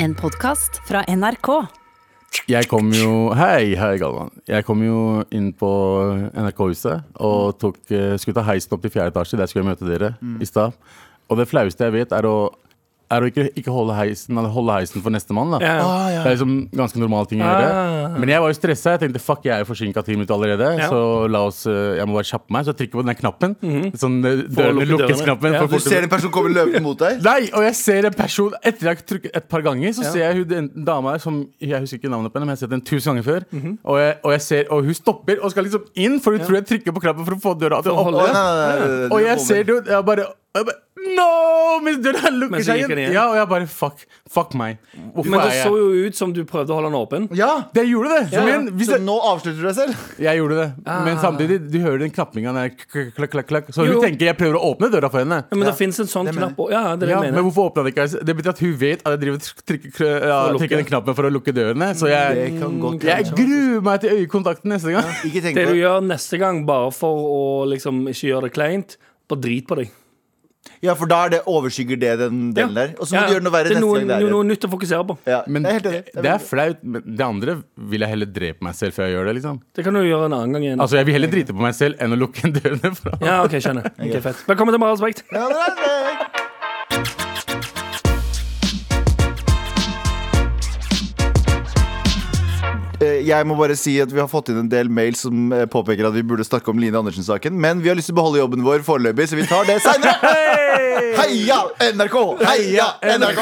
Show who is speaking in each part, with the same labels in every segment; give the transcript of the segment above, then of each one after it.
Speaker 1: En podkast fra NRK.
Speaker 2: Jeg kom jo Hei, hei, Galvan. Jeg kom jo inn på NRK-huset og tok, eh, skulle ta heisen opp til fjerde etasje. Der skulle jeg møte dere
Speaker 3: Mm.
Speaker 2: i stad. Og det flaueste jeg vet, er å, er å ikke, ikke holde heisen Eller holde heisen for nestemann. da.
Speaker 3: Ja.
Speaker 4: Ah, ja.
Speaker 2: Det er liksom ganske normal ting å
Speaker 3: Ah.
Speaker 2: gjøre. Men jeg var jo stressa. Jeg tenkte fuck, jeg er forsinka ti minutter allerede.
Speaker 3: Ja.
Speaker 2: Så la oss, eh, jeg må bare kjappe meg. Så jeg trykker på den der knappen. Sånn eh, dørene
Speaker 3: Mhm. lukke dørene.
Speaker 2: lukkes-knappen.
Speaker 3: Ja.
Speaker 2: for
Speaker 4: Du
Speaker 2: fort å-
Speaker 4: ser en person komme løpende mot deg.
Speaker 2: Nei, og jeg ser en person Etter jeg har trykket et par ganger Så
Speaker 3: Ja.
Speaker 2: ser jeg hun den dama her Som jeg husker ikke navnet på henne Men jeg har sett den tusen ganger før
Speaker 3: Mhm.
Speaker 2: og, jeg, og jeg ser Og hun stopper Og skal liksom inn For hun tror jeg trykker på knappen For å få døra til å
Speaker 3: holde
Speaker 2: holde
Speaker 4: Å, nei, nei, nei, nei,
Speaker 2: Og
Speaker 4: du
Speaker 2: jeg
Speaker 4: må
Speaker 2: ser
Speaker 4: vel-
Speaker 2: det og Jeg bare, og jeg bare No! Mens døra lukker
Speaker 3: Men så
Speaker 2: seg
Speaker 3: gikk
Speaker 2: igjen.
Speaker 3: den igjen.
Speaker 2: Ja, og jeg bare Fuck, fuck meg Hvorfor
Speaker 3: Men
Speaker 2: er
Speaker 3: det så
Speaker 2: jeg
Speaker 3: jo ut som du prøvde å holde den åpen.
Speaker 4: Ja,
Speaker 2: Det gjorde det
Speaker 3: Ja,
Speaker 2: Så
Speaker 3: ja.
Speaker 2: men hvis
Speaker 4: Så
Speaker 2: jeg,
Speaker 4: nå avslutter du deg selv?
Speaker 2: jeg gjorde det Men
Speaker 3: Ah.
Speaker 2: samtidig Du hører den knappingen der klakk, klakk, klakk, klakk. Så
Speaker 3: Jo,
Speaker 2: hun
Speaker 3: jo.
Speaker 2: tenker Jeg prøver å åpne døra for henne
Speaker 3: Ja, men
Speaker 4: Ja,
Speaker 3: det fins en sånn
Speaker 4: det mener jeg.
Speaker 3: knapp òg. Ja, ja, det er det
Speaker 2: ja,
Speaker 3: jeg
Speaker 2: men
Speaker 3: mener.
Speaker 2: hvorfor åpna det ikke? Det betyr at hun vet at jeg driver og trykker, trykker- ja,
Speaker 3: For å lukke.
Speaker 2: trykker den knappen for å lukke dørene. Så jeg,
Speaker 4: kan godt
Speaker 2: jeg gruer meg til øyekontakten neste gang.
Speaker 4: Ikke tenk
Speaker 3: Det
Speaker 4: på
Speaker 3: du
Speaker 4: det.
Speaker 3: gjør neste gang, bare for å liksom ikke gjøre det kleint, bare drit på deg.
Speaker 4: Ja, for da er det overskygger det den delen der. Og så må
Speaker 3: Ja,
Speaker 4: du gjøre noe verre
Speaker 3: det er
Speaker 4: neste
Speaker 3: noe,
Speaker 4: gang. det er
Speaker 3: noe,
Speaker 4: det.
Speaker 3: noe nytt å fokusere på.
Speaker 4: Ja,
Speaker 2: Men
Speaker 4: jeg er
Speaker 2: det
Speaker 4: helt enig. Det er
Speaker 2: er flaut. Men det andre vil jeg heller drepe meg selv før jeg gjør det. liksom
Speaker 3: Det kan du gjøre en annen gang igjen.
Speaker 2: Altså, Jeg vil heller drite på meg selv enn å lukke dørene fra
Speaker 3: Ja, ok, skjønner. Ok, fett. Velkommen til Med all respekt.
Speaker 4: Ja, det er det. Eh, Jeg må bare si at Vi har fått inn en del mail som eh, påpeker at vi burde snakke om Line Andersen-saken. Men vi har lyst til å beholde jobben vår foreløpig, så vi tar det seinere. Heia NRK! Heia NRK!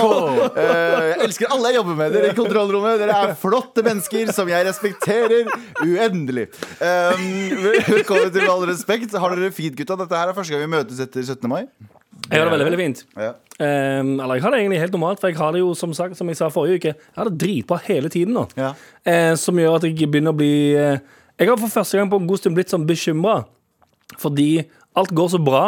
Speaker 4: Eh, jeg elsker alle jeg jobber med. Dere i kontrollrommet Dere er flotte mennesker som jeg respekterer uendelig. Um, velkommen til Med all respekt. Har dere det fint, gutta? Dette her er første gang vi møtes etter 17. mai.
Speaker 3: Jeg har det veldig, veldig fint.
Speaker 4: Ja.
Speaker 3: Ehm, eller jeg har det egentlig helt normalt, for jeg har det jo som, sagt, som jeg sa forrige uke, jeg har det dritbra hele tiden nå.
Speaker 4: Ja.
Speaker 3: Eh, som gjør at jeg begynner å bli eh, Jeg har for første gang på en god stund blitt sånn bekymra, fordi alt går så bra.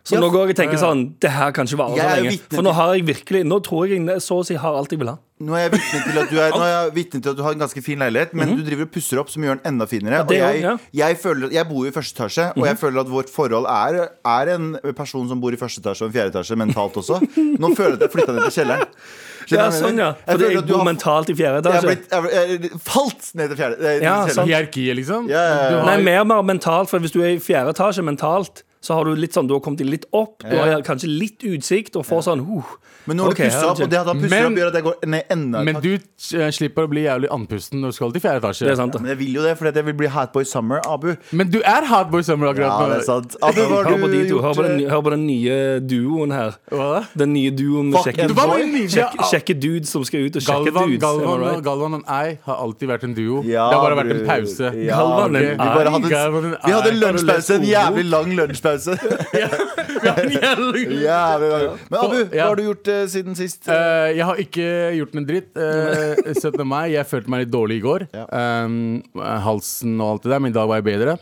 Speaker 3: Så
Speaker 4: Ja,
Speaker 3: nå går jeg og tenker sånn Det her kan ikke vare
Speaker 4: Jeg
Speaker 3: så
Speaker 4: er jo
Speaker 3: lenge.
Speaker 4: vitne
Speaker 3: For nå har jeg virkelig Nå tror jeg jeg så å si har alt jeg vil ha.
Speaker 4: Nå er jeg vitne til at du, er, nå er jeg vitne til at du har en ganske fin leilighet, men du driver og pusser opp som gjør den enda finere.
Speaker 3: det også,
Speaker 4: og jeg,
Speaker 3: Mhm. ja. Mhm.
Speaker 4: jeg, føler, jeg bor jo i første etasje, og jeg føler at vårt forhold er, er en person som bor i første etasje og en fjerde etasje mentalt også. Nå føler jeg at jeg flytta ned til kjelleren. Skjønner du
Speaker 3: Ja,
Speaker 4: hva jeg
Speaker 3: sånn,
Speaker 4: mener?
Speaker 3: ja.
Speaker 4: Jeg
Speaker 3: Fordi
Speaker 4: føler
Speaker 3: jeg
Speaker 4: at du
Speaker 3: bor
Speaker 4: har-
Speaker 3: mentalt i fjerde
Speaker 4: Jeg, har
Speaker 3: etasje.
Speaker 4: blitt, jeg, har- jeg falt ned til fjerde eh, til
Speaker 3: Ja,
Speaker 4: kjelleren.
Speaker 3: sant.
Speaker 2: Hierarkiet, liksom.
Speaker 4: Ja, ja, ja.
Speaker 2: Du har-
Speaker 3: Nei, mer og mer mentalt, for hvis du er i fjerde etasje mentalt, så har du litt sånn Du har kommet deg litt opp, du har kanskje litt utsikt, og får sånn huh.
Speaker 4: Men nå har
Speaker 3: Ok,
Speaker 4: du pussa
Speaker 3: her er
Speaker 4: opp, og det at han pusser
Speaker 2: Men-
Speaker 4: opp, gjør at jeg går ned enda et
Speaker 2: Men
Speaker 4: hakk.
Speaker 2: du eh, slipper å bli jævlig andpusten når du skal til fjerde etasje.
Speaker 3: Det er sant,
Speaker 4: Men
Speaker 3: da.
Speaker 4: jeg vil jo det, fordi at jeg vil bli Hatboy Summer, Abu.
Speaker 2: Men du er hardboy summer akkurat
Speaker 4: Ja,
Speaker 2: nå.
Speaker 4: det er sant. Abu, hva har
Speaker 3: Hør på de
Speaker 4: du
Speaker 3: to. Hør på den,
Speaker 4: gjort? eh,
Speaker 3: hør på den nye duoen her.
Speaker 2: Hva da?
Speaker 3: Den nye duoen med
Speaker 4: Fuck
Speaker 3: kjekke,
Speaker 4: and
Speaker 2: Hva med ninja?
Speaker 3: kjekke, kjekke dudes som skal ut og sjekke
Speaker 2: Galvan,
Speaker 3: dudes. am I
Speaker 2: Galvan, og-
Speaker 3: right?
Speaker 2: Galvan og jeg har alltid vært en duo.
Speaker 4: Ja,
Speaker 2: det har bare vært en
Speaker 4: bror.
Speaker 2: pause.
Speaker 4: Ja,
Speaker 3: Galvan
Speaker 4: bror.
Speaker 3: en
Speaker 4: vi, bare
Speaker 2: ei.
Speaker 4: hadde,
Speaker 2: Galvan en ei.
Speaker 4: vi hadde en
Speaker 3: Har du lest
Speaker 4: lunsjpause, en
Speaker 3: ordbok?
Speaker 4: jævlig lang lunsjpause. jævlig lang. Men Abu,
Speaker 2: Ja.
Speaker 4: hva har du gjort eh, siden sist?
Speaker 2: Eh, jeg har ikke gjort en dritt. eh, 17. mai. Jeg følte meg litt dårlig i går.
Speaker 4: Ja.
Speaker 2: Um, halsen og alt det der, men i dag var jeg bedre.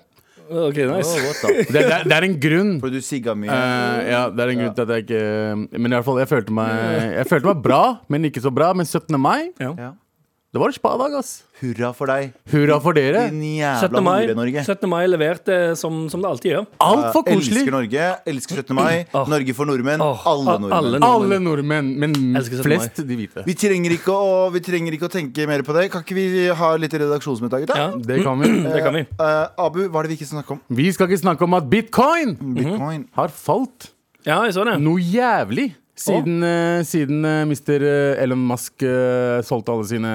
Speaker 3: Ok, nice.
Speaker 2: Det, det, er- det er en grunn.
Speaker 4: For du sigga mye.
Speaker 2: Eh, ja, det er en grunn til at jeg ikke Men i hvert fall, jeg følte meg Jeg følte meg bra, men ikke så bra. Men 17. mai,
Speaker 3: Ja.
Speaker 4: ja.
Speaker 2: det var en spa-dag, ass.
Speaker 4: Hurra for deg,
Speaker 2: Hurra for dere.
Speaker 4: din
Speaker 3: 17.
Speaker 4: jævla
Speaker 3: Mai,
Speaker 4: hore-Norge.
Speaker 3: 17. mai leverte som, som det alltid gjør.
Speaker 2: Altfor
Speaker 4: Eh, Elsker
Speaker 2: koselig.
Speaker 4: Norge, elsker 17. mai.
Speaker 3: Åh.
Speaker 4: Norge for nordmenn.
Speaker 3: Åh,
Speaker 4: Alle
Speaker 3: a- alle
Speaker 4: nordmenn.
Speaker 2: Alle nordmenn, men
Speaker 3: Elsker 17. mai.
Speaker 2: flest de hvite.
Speaker 4: Vi trenger, ikke å, vi trenger ikke å tenke mer på det. Kan ikke vi ha litt redaksjonsmøte? gutta?
Speaker 3: Ja,
Speaker 2: Det kan vi.
Speaker 3: det kan vi.
Speaker 4: Eh, Abu, hva er det vi ikke snakker om?
Speaker 2: Vi skal ikke snakke om at bitcoin
Speaker 3: Mhm.
Speaker 4: Bitcoin.
Speaker 2: har falt.
Speaker 3: Ja, jeg så det.
Speaker 2: noe jævlig siden, eh, siden eh, Mr. Elon Musk eh, solgte alle sine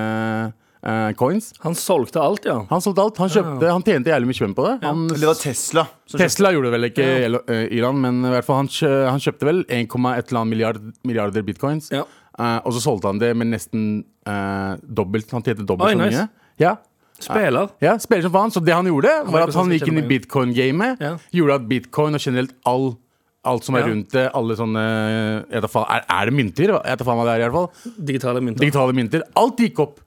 Speaker 2: eh, coins.
Speaker 3: Han solgte alt, ja.
Speaker 2: Han solgte alt. Han kjøpte, han tjente jævlig mye spenn på det. Han,
Speaker 4: Eller det var Tesla. som kjøpte-
Speaker 2: Tesla gjorde det vel ikke Elo- eh, Elon, men i hvert fall han, kjø, han kjøpte vel 1,1 eller annet milliard, milliarder bitcoins.
Speaker 3: Ja.
Speaker 2: Eh, og så solgte han det med nesten eh, dobbelt. Han tjente dobbelt
Speaker 3: Oi,
Speaker 2: så
Speaker 3: nice.
Speaker 2: mye. Ja.
Speaker 3: Spiller.
Speaker 2: Ja, spiller som faen. Så det han gjorde, var at
Speaker 3: prosent
Speaker 2: han gikk inn i
Speaker 3: tjener penger.
Speaker 2: bitcoin-gamet.
Speaker 3: Ja.
Speaker 2: Gjorde at bitcoin og generelt all, alt som er
Speaker 3: Ja.
Speaker 2: rundt det, alle sånne jeg vet da faen, er, er det mynter? Jeg vet da faen hva det er, i hvert fall.
Speaker 3: Digitale mynter.
Speaker 2: Digitale mynter. Alt gikk opp.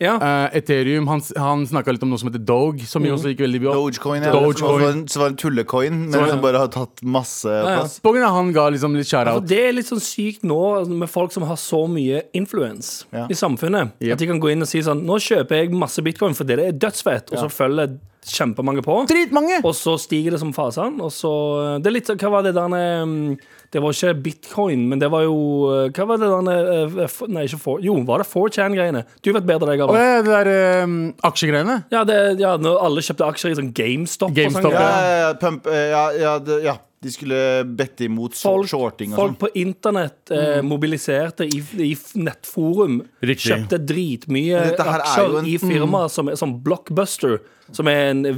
Speaker 3: Ja.
Speaker 2: Eh, Ethereum, han, han snakka litt om noe som heter Dog, som jo også gikk veldig bra.
Speaker 4: Dogecoin, ja.
Speaker 2: Dogecoin.
Speaker 4: Som også var en, som var en tullecoin, men som bare har tatt masse
Speaker 3: ja.
Speaker 4: plass.
Speaker 2: På grunn av han ga liksom litt
Speaker 3: For
Speaker 4: Altså,
Speaker 2: shout-out.
Speaker 3: det er litt sånn sykt nå altså, med folk som har så mye influence
Speaker 4: Ja.
Speaker 3: i samfunnet.
Speaker 2: Yep.
Speaker 3: At de kan gå inn og si sånn Nå kjøper jeg masse bitcoin fordi det er dødsfett, og så følger kjempemange på.
Speaker 2: Dritmange!
Speaker 3: Og så stiger det som fasen. Og så, det er litt, sånn- hva var det der eh, Det var ikke bitcoin, men det var jo eh, Hva var det der eh, f- Nei, ikke 4 Jo, var det 4chan-greiene? Du vet bedre, deg,
Speaker 2: Og
Speaker 3: Galvan.
Speaker 2: det der eh, aksjegreiene.
Speaker 3: Ja, det, ja, når alle kjøpte aksjer i sånn GameStop.
Speaker 2: GameStop,
Speaker 3: og sånn,
Speaker 4: Ja,
Speaker 3: greier.
Speaker 4: ja, ja, pump, eh, ja, ja, det- ja. De skulle bette imot so-
Speaker 3: Folk,
Speaker 4: shorting og
Speaker 3: folk på
Speaker 4: sånn.
Speaker 3: internett eh, mobiliserte i, i f- nettforum.
Speaker 2: Mm. Riktig.
Speaker 3: Kjøpte dritmye
Speaker 4: Dette her er
Speaker 3: aksjer
Speaker 4: jo en- mm.
Speaker 3: i firmaer som, som Blockbuster, som er en eh,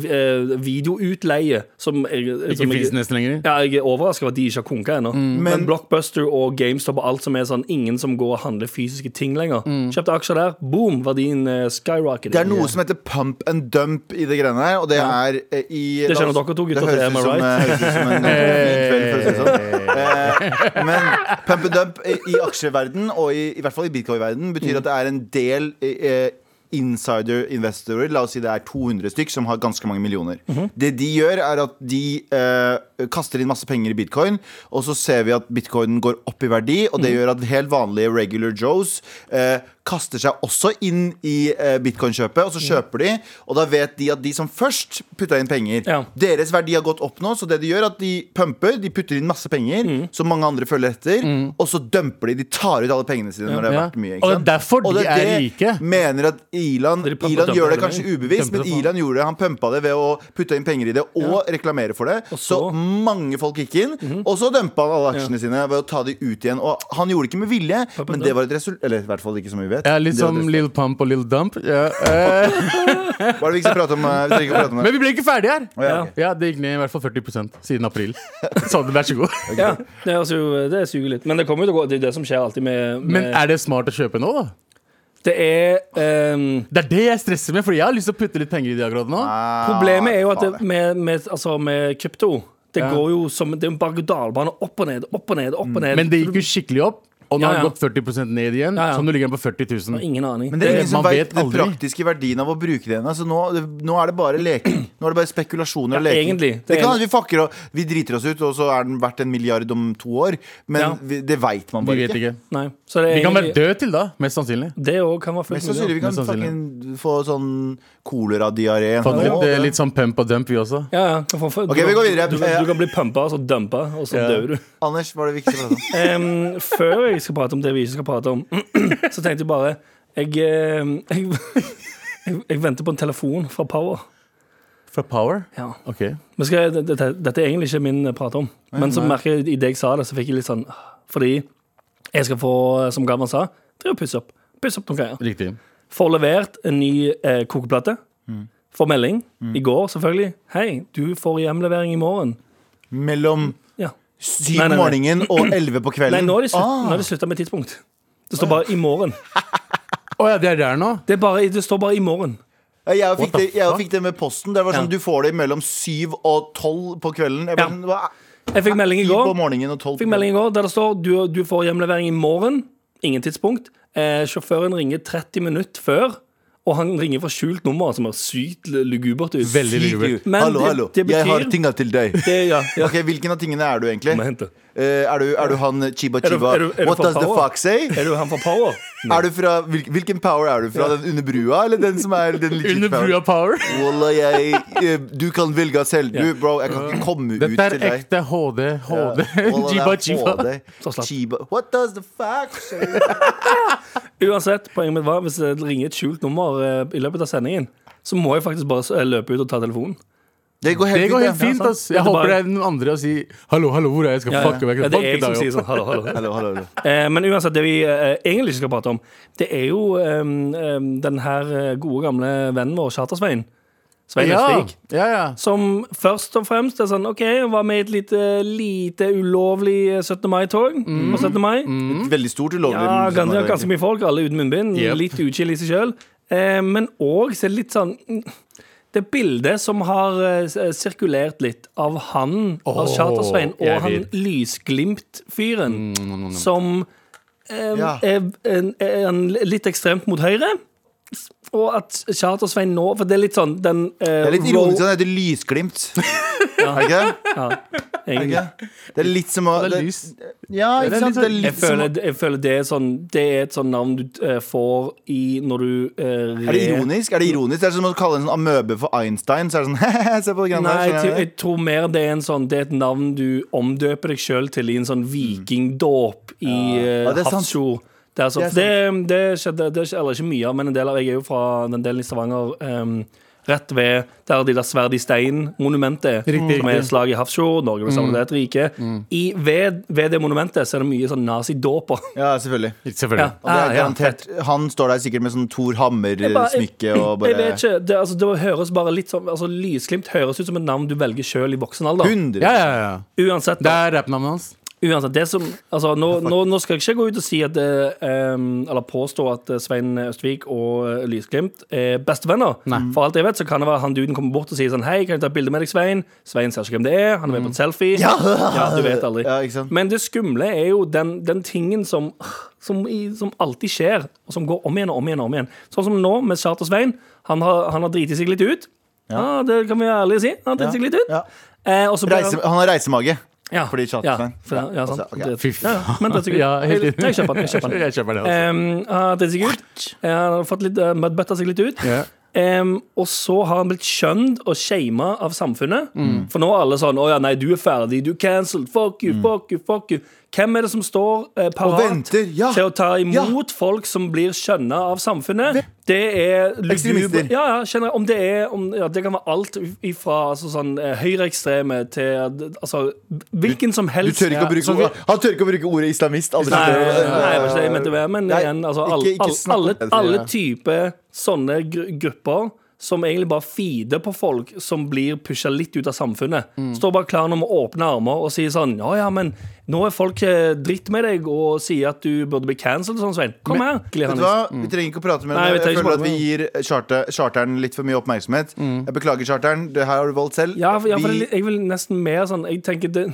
Speaker 3: videoutleie som er-
Speaker 2: Ikke
Speaker 3: som er-
Speaker 2: fins nesten lenger.
Speaker 3: Ja, jeg er overraska over at de ikke har konka ennå. Men,
Speaker 4: Mm. Men-
Speaker 3: Blockbuster og GameStop og alt som er sånn ingen som går og handler fysiske ting lenger. Kjøpte aksjer der, boom, verdien uh, skyrocketed.
Speaker 4: Mm. Det er noe som heter pump and dump i det greiene her, og det er eh, i
Speaker 3: Det kjenner
Speaker 4: la oss-
Speaker 3: dere to gutter
Speaker 4: det
Speaker 3: til,
Speaker 4: høres
Speaker 3: am I
Speaker 4: ut som,
Speaker 3: right?
Speaker 4: eh, høres ut som en eh, fin kveld, for å si det sånn. Eh, Men pump and dump i i aksjeverden og i, i hvert fall i bitcoin-verden betyr at det er en del eh, insider-investorer, la oss si det er 200 stykk, som har ganske mange millioner. Det de gjør, er at de eh, kaster inn masse penger i bitcoin, og så ser vi at bitcoinen går opp i verdi, og det gjør at helt vanlige regular joes eh, kaster seg også inn i eh, bitcoin-kjøpet, og så kjøper de, og da vet de at de som først putta inn penger,
Speaker 3: Ja.
Speaker 4: deres verdi har gått opp nå, så det de gjør er at de pumper, de putter inn masse penger,
Speaker 2: Mm.
Speaker 4: så mange andre følger etter, og så dumper de, de tar ut alle pengene sine når det har
Speaker 2: Ja.
Speaker 4: vært mye.
Speaker 2: Og det er derfor
Speaker 4: Og
Speaker 2: de
Speaker 4: det er
Speaker 2: er
Speaker 4: det
Speaker 2: rike.
Speaker 4: mener at Ilan,
Speaker 3: De pumper og
Speaker 4: Ilan
Speaker 3: dumper
Speaker 4: gjør det
Speaker 3: hele
Speaker 4: kanskje
Speaker 3: veien.
Speaker 4: ubevisst,
Speaker 2: Dumper
Speaker 4: men
Speaker 2: det faen.
Speaker 4: Ilan gjorde det, han pumpa det ved å putte inn penger i det og reklamere for det, så
Speaker 3: så-
Speaker 4: mange folk gikk inn,
Speaker 2: Mhm.
Speaker 4: og så dumpa han alle aksjene sine ved å ta de ut igjen, og han gjorde det ikke med vilje,
Speaker 3: og
Speaker 4: men det
Speaker 3: dump.
Speaker 4: var et resultat, eller i hvert fall ikke som vi vet.
Speaker 2: Ja, litt
Speaker 4: Det var
Speaker 2: som
Speaker 4: et resultat.
Speaker 2: Lill Pump og Lill Dump. Ja, eh,
Speaker 4: Hva er det vi ikke skal prate om? eh, Vi trenger ikke å prate om
Speaker 2: men
Speaker 4: det.
Speaker 2: vi ble ikke ferdige her!
Speaker 4: Å, ja, ok.
Speaker 2: Ja, det gikk ned i hvert fall 40 siden april. Så vær så god.
Speaker 3: Ja, det, er altså- det suger litt. Men det kommer jo til å gå. Det er jo det som skjer alltid med, med
Speaker 2: Men er det smart å kjøpe nå, da?
Speaker 3: Det er ehm,
Speaker 2: Det er det jeg stresser med, Fordi jeg har lyst til å putte litt penger i de akkurat nå.
Speaker 4: Ah,
Speaker 3: Problemet er jo at det,
Speaker 4: faen.
Speaker 3: med, med, altså, med krypto det
Speaker 2: Ja.
Speaker 3: går jo som Det er en berg-og-dal-bane. Opp og ned, opp og ned, opp
Speaker 4: Mm.
Speaker 3: og ned.
Speaker 2: Men det gikk jo skikkelig opp, og nå
Speaker 3: Ja,
Speaker 2: har det
Speaker 3: ja.
Speaker 2: gått 40 ned igjen.
Speaker 3: Ja, ja.
Speaker 2: Så nå ligger den på 40 000.
Speaker 3: Ingen aning.
Speaker 4: Men det er ingen som
Speaker 2: man
Speaker 4: vet
Speaker 2: vet
Speaker 4: den
Speaker 2: aldri.
Speaker 4: praktiske verdien av å bruke det ennå. Så nå, nå er det bare leking. Nå er det bare spekulasjoner og
Speaker 3: Ja,
Speaker 4: leking.
Speaker 3: egentlig.
Speaker 4: Det,
Speaker 3: Det er
Speaker 4: kan hende vi fucker og vi driter oss ut, og så er den verdt en milliard om to år. Men
Speaker 3: Ja.
Speaker 4: vi, det veit man
Speaker 2: Vi
Speaker 4: bare
Speaker 2: vet
Speaker 4: ikke.
Speaker 2: ikke.
Speaker 3: Nei. Så det er
Speaker 2: Vi kan være
Speaker 3: egentlig,
Speaker 2: døde til da, mest sannsynlig.
Speaker 3: det òg kan være
Speaker 4: Mest
Speaker 3: fullt mulig.
Speaker 4: sannsynlig vi kan
Speaker 2: Mest sannsynlig.
Speaker 4: fucking få sånn koleradiaré.
Speaker 2: Fant
Speaker 4: Nå,
Speaker 2: litt, eh, litt sånn pump og dump, vi også.
Speaker 3: Ja, ja. Du kan få-
Speaker 4: Ok, vi går videre.
Speaker 3: Du, kan- du kan bli pumpa, og så dumpa, og så
Speaker 2: Ja.
Speaker 3: dør du.
Speaker 4: Anders, var det viktig å prate om?
Speaker 3: Em, før jeg skal prate om det vi ikke skal prate om, så tenkte jeg bare Jeg, em, jeg, jeg, jeg venter på en telefon fra Power.
Speaker 2: Fra Power.
Speaker 3: Ja.
Speaker 2: Ok.
Speaker 3: Men skal jeg, dette, dette er egentlig ikke min eh, prat om, men så merker jeg idet jeg sa det, så fikk jeg litt sånn ah, Fordi jeg skal få, eh, som Galvan sa, drive og pusse opp. Pusse opp noen greier.
Speaker 2: Riktig.
Speaker 3: Får levert en ny eh, kokeplate. Får melding i går, selvfølgelig. 'Hei, du får hjemlevering i morgen'.
Speaker 4: Mellom
Speaker 3: Ja.
Speaker 4: syv
Speaker 3: Nei, nei,
Speaker 4: om
Speaker 3: nei.
Speaker 4: morgenen og elleve på kvelden.
Speaker 3: Nei, nå er det slutt-
Speaker 4: Ah,
Speaker 3: nå er det slutta med tidspunkt. Det står bare 'i morgen'.
Speaker 2: Å ja, det er der nå?
Speaker 3: Det, er bare, det står bare 'i morgen'.
Speaker 4: Ah. jeg fikk,
Speaker 2: What
Speaker 4: det,
Speaker 2: the
Speaker 4: jeg
Speaker 2: fuck?
Speaker 4: fikk det med posten. Det var sånn,
Speaker 3: Ja.
Speaker 4: Du får det mellom syv og tolv på kvelden. Jeg
Speaker 3: Ja.
Speaker 4: bare, sånn, hva?
Speaker 3: Jeg fikk melding i
Speaker 4: Syv
Speaker 3: går,
Speaker 4: på morgenen og tolv på
Speaker 3: fikk melding i går der det står du, 'du får hjemlevering i morgen'. Ingen tidspunkt. Eh, sjåføren ringer 30 minutter før, og han ringer fra skjult nummer, som er sykt l- lugubert ut.
Speaker 2: Veldig lugubert.
Speaker 3: Men
Speaker 4: hallo,
Speaker 3: det-
Speaker 4: hallo.
Speaker 3: det betyr-
Speaker 4: Jeg har tinga til deg.
Speaker 3: Det, ja, ja.
Speaker 4: Ok, Hvilken av tingene er du egentlig?
Speaker 3: Må jeg hente.
Speaker 4: Eh, er, du, er du han Chiba
Speaker 3: Er du-
Speaker 4: Chiba?
Speaker 3: er du- er du
Speaker 4: What
Speaker 3: fra
Speaker 4: does the
Speaker 3: Power? Mm.
Speaker 4: fuck say?
Speaker 3: Er du han fra Power?
Speaker 4: Er du fra, hvil, hvilken power er du fra? Den under brua, eller den som er den legit
Speaker 2: Under
Speaker 4: power?
Speaker 2: brua Power?
Speaker 4: Wallah, jeg, eh, du kan velge selv. Du, bro, jeg kan ikke komme ut
Speaker 2: Dette er
Speaker 4: til deg.
Speaker 2: ekte HD, HD,
Speaker 4: Wallah, det er
Speaker 2: jiba jiba.
Speaker 4: HD.
Speaker 3: Så slapp.
Speaker 4: Chiba. What does the fuck say?
Speaker 3: Uansett, poenget mitt var hvis det ringer et skjult nummer eh, i løpet av sendingen, så må jeg faktisk bare s- eh, løpe ut og ta telefonen.
Speaker 4: Det går helt
Speaker 2: Det går helt
Speaker 4: fint. ja.
Speaker 2: fint, ass.
Speaker 3: Det
Speaker 2: Jeg
Speaker 3: er sånn.
Speaker 2: håper
Speaker 3: bare-
Speaker 2: det er noen andre å si 'hallo, hallo, hvor er jeg?' skal
Speaker 3: Ja,
Speaker 2: fucke
Speaker 3: ja.
Speaker 2: meg.
Speaker 3: Ja, det er jeg som sier sånn. Hallo, hallo.
Speaker 4: Hallo, hallo, hallo.
Speaker 3: Eh, men uansett, det vi eh, egentlig ikke skal prate om, det er jo eh, eh, den her eh, gode gamle vennen vår, Charter-Svein. Svein
Speaker 2: Ja,
Speaker 3: Østvik.
Speaker 2: ja, ja.
Speaker 3: Som først og fremst er sånn OK, var med i et lite, lite ulovlig 17. mai-tog.
Speaker 2: Mm.
Speaker 3: På 17. mai.
Speaker 4: Veldig stort ulovlig.
Speaker 3: Ja,
Speaker 4: men-
Speaker 3: ganske, ganske mye folk, alle uten munnbind.
Speaker 2: Yep.
Speaker 3: Litt utskill i seg sjøl. Eh, men òg så er det litt sånn mm, Det bildet som har eh, s- sirkulert litt av han, av
Speaker 2: Åh,
Speaker 3: Charter-Svein, og
Speaker 2: jeg
Speaker 3: han
Speaker 2: vet. Mm,
Speaker 3: Lysglimt-fyren, som eh,
Speaker 4: Ja.
Speaker 3: er, en- er en litt ekstremt mot høyre. Og at Kjat og Svein nå For det er litt sånn den eh,
Speaker 4: Det er litt ironisk at den heter Lysglimt. Er det ikke det?
Speaker 3: Ja,
Speaker 4: Er det
Speaker 3: egentlig.
Speaker 4: ikke det? Det er litt som å
Speaker 2: Det er
Speaker 4: det-
Speaker 2: lys.
Speaker 4: Ja, ikke sant? Det er
Speaker 3: sånn- Jeg
Speaker 4: litt som å
Speaker 3: føler, jeg føler det er sånn Det er et sånn navn du eh, får i når du eh,
Speaker 4: er det
Speaker 3: re-
Speaker 4: ironisk? Er det ironisk? Det er som å kalle en sånn amøbe for Einstein. Så er det sånn, se på det
Speaker 3: Nei, jeg,
Speaker 4: greiene
Speaker 3: tror-
Speaker 4: der.
Speaker 3: jeg tror mer det er en sånn Det er et navn du omdøper deg sjøl til i en sånn vikingdåp i eh,
Speaker 4: Mm. Ja, det er sant.
Speaker 3: Hafrsfjord. Det, er sånn-
Speaker 4: Det er
Speaker 3: for det, det skjedde det skjedde, Eller ikke mye, av, men en del av Jeg er jo fra den delen i Stavanger em, rett ved der de der Sverd i stein-monumentet er.
Speaker 2: Riktig,
Speaker 3: Som er
Speaker 2: riktig.
Speaker 3: et slag i Hafrsfjord. Norge ble
Speaker 4: Mm.
Speaker 3: samlet til et rike. I, ved, ved det monumentet så er det mye sånn nazidåper.
Speaker 4: Ja, selvfølgelig.
Speaker 2: Selvfølgelig.
Speaker 4: Og det
Speaker 3: Ah,
Speaker 4: er
Speaker 3: ja,
Speaker 4: garantert Han står der sikkert med sånn Thor
Speaker 3: Jeg bare-
Speaker 4: Hammer-smykke og
Speaker 3: Jeg vet
Speaker 4: bare
Speaker 3: ikke, det, altså, det høres bare litt sånn altså, Lysglimt høres ut som et navn du velger sjøl i voksen alder.
Speaker 4: 100
Speaker 2: Ja, ja, ja.
Speaker 3: Uansett,
Speaker 2: Det
Speaker 3: da.
Speaker 2: er rappnavnet hans.
Speaker 3: Uansett, det som, altså, nå, nå, nå skal jeg ikke gå ut og si at eh, em, Eller påstå at eh, Svein Østvik og eh, Lysglimt er bestevenner. For alt jeg vet, så kan det være han duden kommer bort og sier sånn Hei, kan jeg ta et bilde med deg, Svein? Svein ser ikke hvem det er, han er med på en selfie.
Speaker 4: Mm. Ja!
Speaker 3: du vet aldri.
Speaker 4: Ja, ikke sant?
Speaker 3: Men det skumle er jo den, den tingen som, som, i, som alltid skjer, og som går om igjen og om igjen. og om igjen Sånn som nå med Charter Svein. Han har, han har driti seg litt ut. Ja. Det kan vi være ærlige og si. Han har driti seg litt ut.
Speaker 4: Ja.
Speaker 3: Eh, og så ble
Speaker 4: Reise, Han har reisemage.
Speaker 3: ja.
Speaker 4: Fordi Charter
Speaker 3: ja,
Speaker 4: Svein.
Speaker 3: for- Ja, sant.
Speaker 4: altså, ok.
Speaker 3: Det-
Speaker 2: Fy
Speaker 3: Ja, ja, men det er sikkert.
Speaker 2: Ja, helt
Speaker 3: jeg,
Speaker 2: enig.
Speaker 3: jeg kjøper den. Jeg kjøper den.
Speaker 2: Jeg kjøper altså. det også.
Speaker 3: Ehm,
Speaker 4: altså.
Speaker 3: ja, det er sikkert. Jeg har fått litt uh, bøtta seg litt ut.
Speaker 2: Ja.
Speaker 3: Ehm, og så har han blitt skjønt og shama av samfunnet.
Speaker 4: Mm.
Speaker 3: For nå er alle sånn 'Å ja, nei, du er ferdig. Du er cancelled. Fuck you, fuck you, fuck you'. Hvem er det som står eh, parat
Speaker 4: venter, ja.
Speaker 3: til å ta imot folk som blir skjønna av samfunnet? Det er lugubre-
Speaker 4: Ekstremister.
Speaker 3: Ja, ja, kjenner, om det er om, ja, Det kan være alt ifra altså, sånn, eh, høyreekstreme til altså, hvilken som
Speaker 4: Du
Speaker 3: helst
Speaker 4: tør ikke å bruke,
Speaker 2: som vi-
Speaker 4: han tør ikke å bruke ordet islamist. Aldri.
Speaker 3: sånn Nei, nei, det var ikke det jeg mente. med, Men
Speaker 4: Nei,
Speaker 3: igjen, altså,
Speaker 4: ikke-
Speaker 3: alle,
Speaker 4: ikke snakk om
Speaker 3: alle,
Speaker 4: det,
Speaker 3: alle
Speaker 4: ja.
Speaker 3: typer sånne gru- grupper som egentlig bare feeder på folk som blir pusha litt ut av samfunnet.
Speaker 4: Mm.
Speaker 3: Står bare klar med åpne armer og sier sånn Ja, ja, men nå er folk eh, dritt med deg og sier at du burde bli cancelled og sånn, Svein. Kom her.
Speaker 4: Vet du hva? Vi trenger ikke å prate med
Speaker 3: Nei, vi
Speaker 4: henne. Jeg
Speaker 3: trenger ikke
Speaker 4: føler at
Speaker 3: prate
Speaker 4: vi gir charter, charteren litt for mye oppmerksomhet. Jeg beklager, charteren. Det her har du valgt
Speaker 3: Mm.
Speaker 4: selv.
Speaker 3: Ja, for, ja, for
Speaker 4: vi,
Speaker 3: det- jeg vil nesten mer sånn Jeg tenker det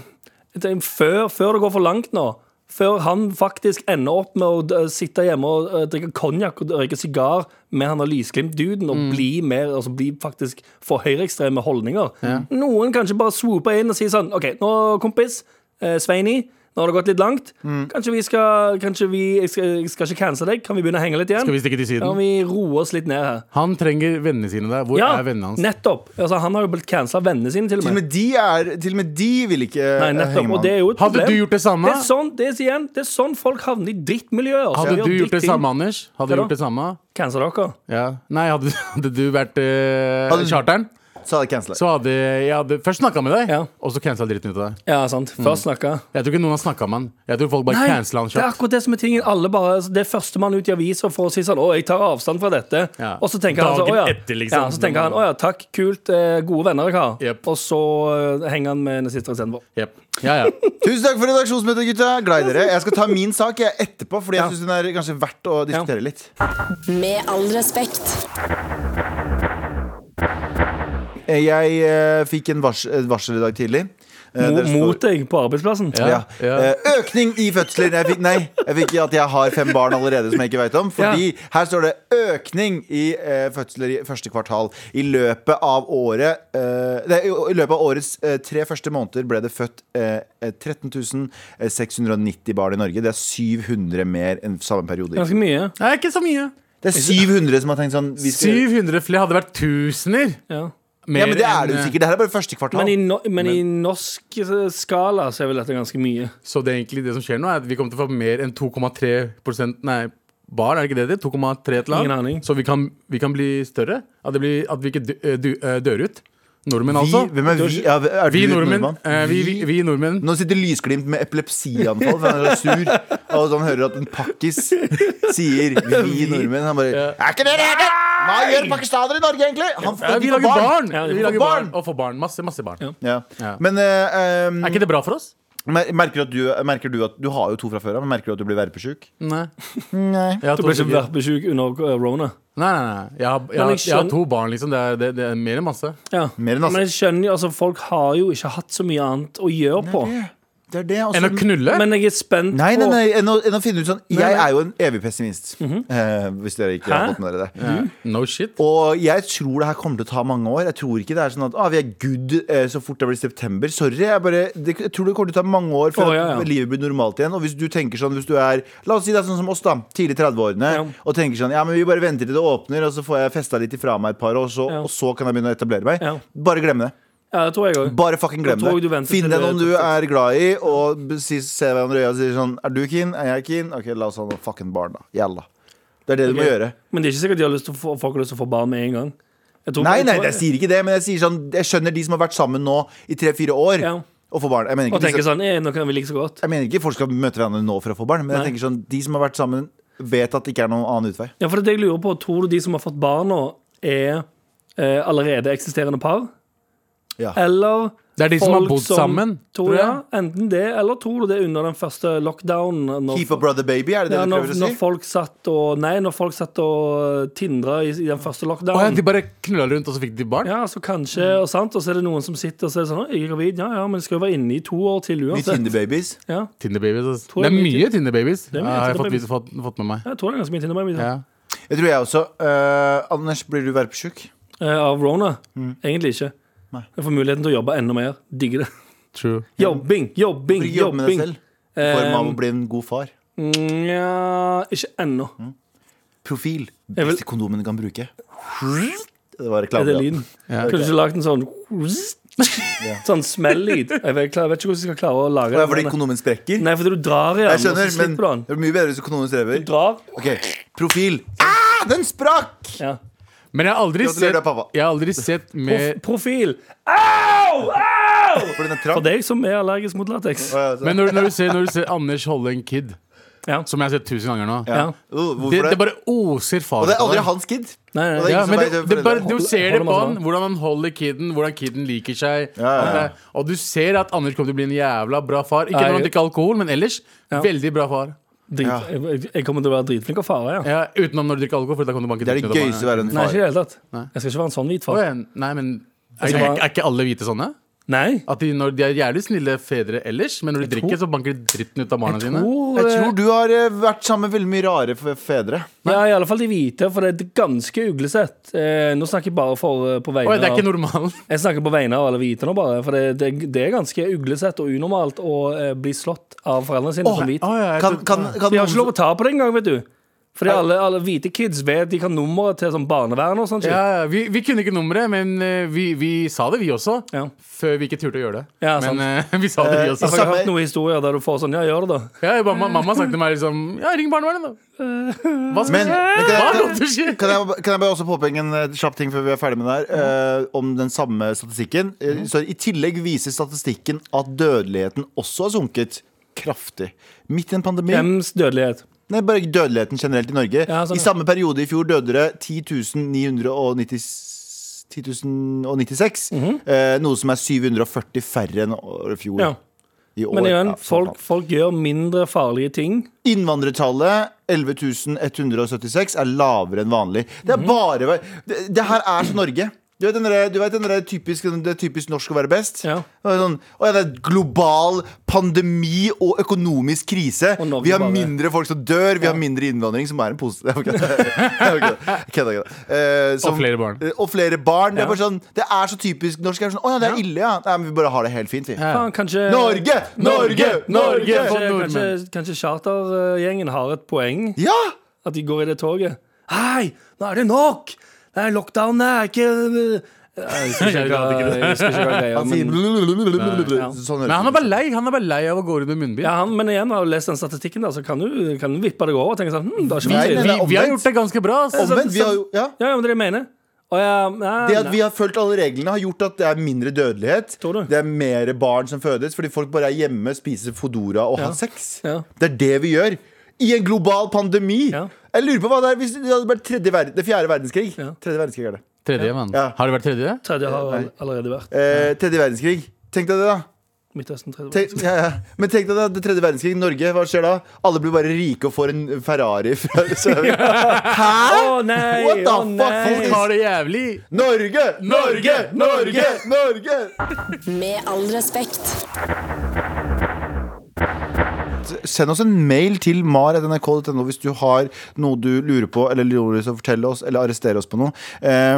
Speaker 3: jeg tenker, før, før det går for langt nå før han faktisk ender opp med å eh, sitte hjemme og eh, drikke konjakk og røyke sigar med han der Lysglimt-duden og
Speaker 2: Mm.
Speaker 3: bli mer, altså bli faktisk for høyreekstreme holdninger. Noen kanskje bare swooper inn og sier sånn OK, nå, kompis, eh, Sveini, nå har det gått litt langt.
Speaker 2: Mm.
Speaker 3: Kanskje vi skal Kanskje vi jeg skal, jeg skal ikke cancele deg. Kan vi begynne å henge litt igjen?
Speaker 2: Skal vi stikke til
Speaker 3: Kan
Speaker 2: siden?
Speaker 3: vi roe oss litt ned her?
Speaker 2: Han trenger vennene sine der. Hvor
Speaker 3: Ja,
Speaker 2: er vennene hans?
Speaker 3: nettopp. Altså, han har jo blitt cancela av vennene sine, til og
Speaker 4: til, og
Speaker 3: med.
Speaker 4: med de er, til og med de vil ikke eh,
Speaker 3: Nei, nettopp, og det er jo et
Speaker 2: Hadde
Speaker 3: problem.
Speaker 2: du gjort det samme?
Speaker 3: Det er sånn, det er, igjen, det er sånn folk havner i drittmiljøer. så
Speaker 2: Hadde
Speaker 3: gjør
Speaker 2: du gjort det
Speaker 3: drittting.
Speaker 2: samme, Anders? Hadde du
Speaker 3: Hva da?
Speaker 2: gjort det samme?
Speaker 3: Cancel dere.
Speaker 2: Ja. Nei, hadde, hadde du vært eh,
Speaker 4: Hadde-
Speaker 2: charteren,
Speaker 4: Så hadde jeg cancela.
Speaker 2: så hadde jeg hadde først snakka med deg,
Speaker 3: Ja.
Speaker 2: og så cancela dritten ut av deg.
Speaker 3: Ja, sant. Først snakka.
Speaker 2: Jeg tror ikke noen har snakka med han. Jeg tror folk bare cancela han
Speaker 3: det er
Speaker 2: kjapt.
Speaker 3: akkurat det som er tingen. Alle bare, altså, det er førstemann ut i aviser for å si sånn 'Å, jeg tar avstand fra dette'.
Speaker 2: Ja.
Speaker 3: Og så tenker han sånn,
Speaker 2: Dagen
Speaker 3: å, ja.
Speaker 2: etter, liksom.
Speaker 3: ja, så tenker han 'Å ja, takk, kult, eh, gode venner jeg har'.
Speaker 2: Jep.
Speaker 3: Og så eh, henger han med nazister istedenfor.
Speaker 2: Jep. Ja, ja.
Speaker 4: Tusen takk for redaksjonsmøtet, gutta. Glad i dere. Jeg skal ta min sak jeg, etterpå, Fordi jeg syns den er kanskje verdt å diskutere litt.
Speaker 5: Med all respekt.
Speaker 4: Eh, Jeg eh, fikk en vars, et varsel i dag tidlig. Eh,
Speaker 3: Mo-
Speaker 4: der står-
Speaker 3: Mot deg på arbeidsplassen.
Speaker 4: Ja.
Speaker 2: Ja.
Speaker 4: Eh, Økning i fødsler. Jeg fikk, nei, jeg fikk at jeg har fem barn allerede som jeg ikke vet om. Fordi her står det økning i eh, fødsler i første kvartal. I løpet av året eh, nei, I løpet av årets eh, tre første måneder ble det født eh, 13 690 barn i Norge. Det er 700 mer enn samme periode. i fjor.
Speaker 3: Ganske mye.
Speaker 2: Det er ikke så mye.
Speaker 4: Det er 700 som har tenkt sånn vi skal,
Speaker 2: 700 flere hadde vært tusener.
Speaker 3: Ja.
Speaker 2: Mer
Speaker 4: Ja, men det er det jo
Speaker 2: enn, eh,
Speaker 4: sikkert. Det her er bare første kvartal.
Speaker 3: Men, i no, men i norsk eh, skala så er vel dette ganske mye.
Speaker 2: Så det, er egentlig, det som skjer nå, er at vi kommer til å få mer enn 2,3 prosent- Nei, barn, er det ikke det det? 2,3 et eller
Speaker 3: Ingen aning.
Speaker 2: annet. Så vi kan, vi kan bli større. At, det blir, at vi ikke dø, dø, dør ut. Nordmenn,
Speaker 4: vi,
Speaker 2: altså.
Speaker 4: hvem er vi? Ja, er
Speaker 2: Vi
Speaker 4: du
Speaker 2: nordmenn.
Speaker 4: nordmann?
Speaker 2: eh, vi, vi, vi nordmenn.
Speaker 4: Nå sitter Lysglimt med epilepsianfall, for han er så sur. Og han hører at en pakkis sier 'vi nordmenn'. Han bare 'Er ikke det det heter?!» Hva gjør pakistanere i Norge, egentlig?!
Speaker 2: Ja,
Speaker 4: Han får,
Speaker 2: vi lager barn!
Speaker 3: Ja, vi
Speaker 2: vi
Speaker 3: får
Speaker 2: lager barn.
Speaker 4: barn.
Speaker 2: Og får barn. Masse, masse barn.
Speaker 4: Ja.
Speaker 2: Ja.
Speaker 4: Men eh, ehm,
Speaker 2: Er ikke det bra for oss?
Speaker 4: mer- merker, du at du, merker du at Du har jo to fra før av, men merker du at du blir verpesjuk?
Speaker 2: Nei.
Speaker 4: Nei.
Speaker 2: Jeg har
Speaker 3: Du
Speaker 2: to,
Speaker 3: blir ikke
Speaker 2: stykker.
Speaker 3: verpesjuk under eh, rona.
Speaker 2: nei, nei, nei. Jeg har, jeg, har,
Speaker 3: Men jeg
Speaker 2: jeg har
Speaker 3: skjønner-
Speaker 2: to barn, liksom. Det er, det, det er mer enn masse.
Speaker 3: Ja.
Speaker 4: Mer enn altså.
Speaker 3: Men jeg skjønner jo, altså folk har jo ikke hatt så mye annet å gjøre på.
Speaker 4: Det er det. og så-
Speaker 2: Enn å knulle?
Speaker 3: Men jeg er spent
Speaker 4: Nei, nei,
Speaker 3: på-
Speaker 4: nei, enn å, enn å finne ut sånn Jeg
Speaker 3: nei.
Speaker 4: er jo en evig pessimist. eh, hvis dere ikke har
Speaker 3: Hæ?
Speaker 4: fått med dere det.
Speaker 2: No shit.
Speaker 4: Og jeg tror det her kommer til å ta mange år. Jeg tror ikke det er sånn at ah, vi er good eh, så fort det blir september. Sorry. Jeg, bare, det, jeg tror det kommer til å ta mange år før
Speaker 3: Å, ja, ja.
Speaker 4: livet blir normalt igjen. Og hvis du tenker sånn, hvis du er La oss si det er sånn som oss, da. Tidlig i 30-årene.
Speaker 3: Ja.
Speaker 4: Og tenker sånn Ja, men vi bare venter til det åpner, og så får jeg festa litt ifra meg et par år, og så,
Speaker 3: Ja.
Speaker 4: og så kan jeg begynne å etablere meg.
Speaker 3: Ja.
Speaker 4: Bare glem det.
Speaker 3: Ja, det tror jeg òg.
Speaker 4: Bare fucking glem
Speaker 3: Da tror jeg du
Speaker 4: det.
Speaker 3: venter
Speaker 4: Finn
Speaker 3: til
Speaker 4: deg
Speaker 3: du er
Speaker 4: noen du
Speaker 3: 36.
Speaker 4: er glad i, og b- si, se hverandre i øya og si sånn Er du keen? Er jeg keen? Ok, la oss ha noen fucking barn, da. Jalla. Det er det du må gjøre.
Speaker 3: Men det er ikke sikkert de har lyst til å få, folk har lyst til å få barn med en gang. Jeg tror-
Speaker 4: Nei,
Speaker 3: jeg
Speaker 4: nei,
Speaker 3: tror-
Speaker 4: jeg sier ikke det, men jeg sier sånn Jeg skjønner de som har vært sammen nå i tre-fire år
Speaker 3: Ja.
Speaker 4: og får barn. Jeg
Speaker 3: Og
Speaker 4: mener, ikke, de
Speaker 3: tenker
Speaker 4: skal,
Speaker 3: sånn eh, Nå kan vi like så godt.
Speaker 4: jeg mener ikke folk skal møte hverandre nå for å få barn, men jeg
Speaker 3: Nei.
Speaker 4: tenker sånn de som har vært sammen, vet at det ikke er noen annen utvei.
Speaker 3: Ja, for det er det jeg lurer på Tror du de som har fått barn nå, er eh, allerede eksisterende par?
Speaker 4: Ja.
Speaker 3: Eller
Speaker 2: Det er de som har
Speaker 3: folk
Speaker 2: bodd sammen, tror
Speaker 3: Tror,
Speaker 2: jeg.
Speaker 3: ja, enten det, eller tror du det under den første lockdownen? Når,
Speaker 4: Keep a brother baby, er det det
Speaker 3: ja,
Speaker 4: du
Speaker 3: når,
Speaker 4: prøver å
Speaker 3: når
Speaker 4: si?
Speaker 3: folk satt og Nei, når folk satt og tindra i, i den
Speaker 2: Å
Speaker 3: første
Speaker 2: ja,
Speaker 3: lockdownen.
Speaker 2: de bare knulla rundt, og så fikk de barn?
Speaker 3: Ja, så kanskje, og sant Og så er det noen som sitter og så er det sånn «Å, Jeg er gravid, ja, ja, men jeg skal jo være inne i to år til
Speaker 4: Vi
Speaker 3: uansett
Speaker 4: Tinder-babies.
Speaker 3: ja.
Speaker 2: Tinder-babies. altså.
Speaker 3: Tror
Speaker 2: Det
Speaker 3: jeg
Speaker 2: er
Speaker 3: mye
Speaker 2: mye Tinder-babies. Ja,
Speaker 3: er mye
Speaker 2: har jeg fått,
Speaker 3: Tinder-babies.
Speaker 2: fått, fått med meg.
Speaker 3: Jeg tror det er ganske mye Tinder Babies
Speaker 2: Ja.
Speaker 4: Jeg tror jeg også. øh, Anders, blir du verpesjuk?
Speaker 3: eh, Av Rona, egentlig ikke
Speaker 4: Mm. Nei.
Speaker 3: Jeg får muligheten til å jobbe enda mer Digger det
Speaker 2: True.
Speaker 3: Jobbing, jobbing,
Speaker 4: Bør ikke jobbe med deg
Speaker 3: jobbing
Speaker 4: selv. I form av
Speaker 3: Eh,
Speaker 4: å bli en god far.
Speaker 3: Nja, ikke ennå
Speaker 4: Mm. Profil.
Speaker 3: Jeg vil-
Speaker 4: Beste kondomen du kan bruke. Det var
Speaker 3: Er
Speaker 4: reklame.
Speaker 3: det
Speaker 4: ja.
Speaker 3: lyden? Kunne du ikke lagt en sånn Sånn smell-lyd Jeg vet, jeg vet ikke hvordan jeg skal klare å lage
Speaker 4: Det
Speaker 3: det
Speaker 4: er fordi kondomen sprekker.
Speaker 3: Nei, fordi du drar i den
Speaker 4: Jeg skjønner,
Speaker 3: Og så
Speaker 4: men
Speaker 3: slipper du
Speaker 4: det er mye bedre hvis kondomen strever.
Speaker 3: den Du drar
Speaker 4: Ok, profil. Ah, den sprakk!
Speaker 3: ja.
Speaker 2: Men jeg har aldri
Speaker 4: Gratulerer,
Speaker 2: sett,
Speaker 4: da, pappa.
Speaker 2: jeg har aldri sett
Speaker 3: Prof
Speaker 2: med
Speaker 3: Profil Au, au
Speaker 4: For den er
Speaker 3: For
Speaker 4: trang.
Speaker 3: deg som er allergisk mot latex
Speaker 4: Å, ja, så-
Speaker 2: Men når, når, du ser, når du ser Anders holde en kid,
Speaker 3: Ja.
Speaker 2: som jeg har sett tusen ganger nå
Speaker 4: ja.
Speaker 3: Ja.
Speaker 4: Uh, Hvorfor
Speaker 2: det,
Speaker 4: det?
Speaker 2: det bare oser
Speaker 4: Og
Speaker 2: far.
Speaker 4: det er aldri hans kid.
Speaker 3: Nei, nei,
Speaker 4: Og det er
Speaker 2: Ja,
Speaker 4: ingen som
Speaker 2: men
Speaker 4: vet
Speaker 2: det,
Speaker 4: hvem
Speaker 2: det bare,
Speaker 4: foreldrene
Speaker 2: du
Speaker 4: er.
Speaker 2: ser det
Speaker 3: Holder
Speaker 2: på
Speaker 3: man
Speaker 2: han,
Speaker 3: sånn?
Speaker 2: hvordan han holder kiden, hvordan kiden liker seg.
Speaker 4: Ja, ja, ja.
Speaker 2: At det- Og du ser at Anders kommer til å bli en jævla bra far. Ikke når han
Speaker 3: Nei.
Speaker 2: drikker alkohol, men ellers
Speaker 3: Ja.
Speaker 2: veldig bra far.
Speaker 3: Drit,
Speaker 4: Ja.
Speaker 3: jeg- jeg, jeg kommer til å være dritflink og fare, ja.
Speaker 2: Ja, utenom når du drikker alkohol. For da kan du banke
Speaker 4: Det er
Speaker 2: dritten ut
Speaker 4: det
Speaker 2: av
Speaker 4: gøyeste å
Speaker 2: barnet.
Speaker 4: være en
Speaker 3: Nei, ikke i
Speaker 4: far.
Speaker 3: det hele tatt.
Speaker 2: Nei.
Speaker 3: Jeg skal ikke være en sånn hvit
Speaker 2: Å,
Speaker 3: far.
Speaker 2: ja. Nei, men er,
Speaker 3: Jeg skal
Speaker 2: er,
Speaker 3: bare-
Speaker 2: er ikke alle hvite sånne?
Speaker 3: Nei.
Speaker 2: At de, når de er jævlig snille fedre ellers, men når de drikker, så banker de dritten ut av barna sine.
Speaker 4: Jeg tror du har eh, vært sammen med veldig mye rare f- fedre.
Speaker 3: Ja, i alle fall de hvite, for det er ganske uglesett. Eh, nå snakker jeg bare for, eh, på vegne
Speaker 2: Oi, det er ikke
Speaker 3: av
Speaker 2: normalen.
Speaker 3: Jeg snakker på vegne av alle hvite nå, bare. For det, det, det er ganske uglesett og unormalt å eh, bli slått av foreldrene sine som
Speaker 2: Å,
Speaker 3: hvit.
Speaker 2: ja, jeg
Speaker 4: Kan,
Speaker 2: trodde-
Speaker 4: kan, kan
Speaker 3: De har ikke
Speaker 4: noen,
Speaker 3: lov å ta på det engang, vet du. Fordi alle, alle hvite kids vet de kan nummeret til sånn barnevern og sånn shit.
Speaker 2: ja, ja, vi, vi kunne ikke nummeret, men eh, vi, vi sa det, vi også.
Speaker 3: Ja.
Speaker 2: Før vi ikke turte å gjøre det.
Speaker 3: Ja, sant.
Speaker 2: men eh, vi sa det, vi
Speaker 4: Eh,
Speaker 2: også.
Speaker 3: Jeg har
Speaker 4: Samme-
Speaker 3: hørt noen historier der du får sånn Ja, gjør det, da.
Speaker 2: Ja, mamma, mamma sa til meg liksom Ja, ring barnevernet, da. Hva skal
Speaker 4: Men- men
Speaker 2: skje?
Speaker 4: kan jeg-
Speaker 2: Hva
Speaker 4: kan-
Speaker 2: måtte skje?
Speaker 4: kan, jeg, kan jeg bare også påpeke en eh, kjapp ting før vi er ferdig med det her? eh, om den samme statistikken. Eh, Så I tillegg viser statistikken at dødeligheten også har sunket kraftig. Midt i en pandemi.
Speaker 3: Hjems dødelighet.
Speaker 4: Nei, bare dødeligheten generelt i Norge.
Speaker 3: Ja, sånn,
Speaker 4: I
Speaker 3: ja.
Speaker 4: samme periode i fjor døde det 10.996, 10.096,
Speaker 3: Mhm.
Speaker 4: eh, noe som er 740 færre enn å- i fjor.
Speaker 3: Ja.
Speaker 4: I år.
Speaker 3: Men igjen,
Speaker 4: Ja, sånn
Speaker 3: folk,
Speaker 4: faen.
Speaker 3: folk gjør mindre farlige ting.
Speaker 4: Innvandrertallet 11.176 er lavere enn vanlig. Det er bare Det, det her er så Norge. Du vet, den der, du vet den der typisk, det er typisk norsk å være best?
Speaker 3: Ja.
Speaker 4: Det er Sånn, «Å ja, det er global pandemi og økonomisk krise.
Speaker 3: Og Norge
Speaker 4: vi har
Speaker 3: bare-
Speaker 4: mindre folk som dør, vi har mindre innvandring, som er en positiv Jeg kødder. Jeg kødder. Eh, som-
Speaker 2: flere barn.
Speaker 4: Eh, Og flere barn. Det,
Speaker 3: Ja.
Speaker 4: er bare sånn, det er så typisk norsk. Det er sånn, Å ja, det er ille, ja. Nei, men vi bare har det helt fint, vi.
Speaker 2: Ja.
Speaker 3: Faen, kanskje
Speaker 4: Norge! Norge!
Speaker 2: Norge!
Speaker 4: Norge!
Speaker 2: For
Speaker 3: Kanskje, kanskje,
Speaker 2: nordmenn.
Speaker 3: kanskje chartergjengen har et poeng?
Speaker 4: Ja!
Speaker 3: At de går i det toget? Hei, nå er det nok! Det er lockdown, det er ikke Jeg husker ikke hva jeg husker ikke hva greia
Speaker 4: Han sier
Speaker 3: men- ja.
Speaker 4: Altså, Sånn
Speaker 2: Men han er bare lei Han er bare lei av å gå rundt med munnbind.
Speaker 3: ja, han- men igjen, har du lest den statistikken, der, så kan du, kan du vippe deg over og tenke sånn hm, det er ikke
Speaker 4: Nei,
Speaker 3: mye
Speaker 4: nei,
Speaker 3: til.
Speaker 4: nei.
Speaker 2: Vi,
Speaker 4: er
Speaker 2: vi har
Speaker 4: omvendt.
Speaker 2: gjort det ganske bra. altså. ass.
Speaker 4: Omvendt, vi har jo ja.
Speaker 3: Ja, ja, men det er det jeg mener. Å sånn- ja, nei,
Speaker 4: Det at
Speaker 3: nei.
Speaker 4: vi har fulgt alle reglene, har gjort at det er mindre dødelighet.
Speaker 3: Tror du?
Speaker 4: Det er mer barn som fødes fordi folk bare er hjemme, spiser Fodora og har sex.
Speaker 3: Ja.
Speaker 4: Det er det vi gjør. I en global pandemi.
Speaker 3: Ja.
Speaker 4: Jeg lurer på hva det er hvis det hadde vært tredje verden, det fjerde verdenskrig.
Speaker 3: Ja.
Speaker 4: Tredje verdenskrig er det.
Speaker 2: Tredje, mann.
Speaker 4: Ja.
Speaker 2: Har det vært tredje?
Speaker 3: Tredje har all- allerede vært.
Speaker 4: Eh, tredje verdenskrig. Tenk deg det, da.
Speaker 3: Midtøsten tredje.
Speaker 4: Tenk, ja, ja. Men tenk deg da, det tredje verdenskrig, Norge, hva skjer da? Alle blir bare rike og får en Ferrari fra Sør-Afrika. Hæ?!
Speaker 3: Å nei!
Speaker 4: What the
Speaker 3: å,
Speaker 4: fuck?
Speaker 3: nei.
Speaker 2: Folk har det jævlig.
Speaker 4: Norge! Norge! Norge! Norge!
Speaker 5: Med all respekt.
Speaker 4: at Send oss en mail til mar.nrk.no hvis du har noe du lurer på, eller lurer til å fortelle oss, eller arrestere oss på noe. Eh,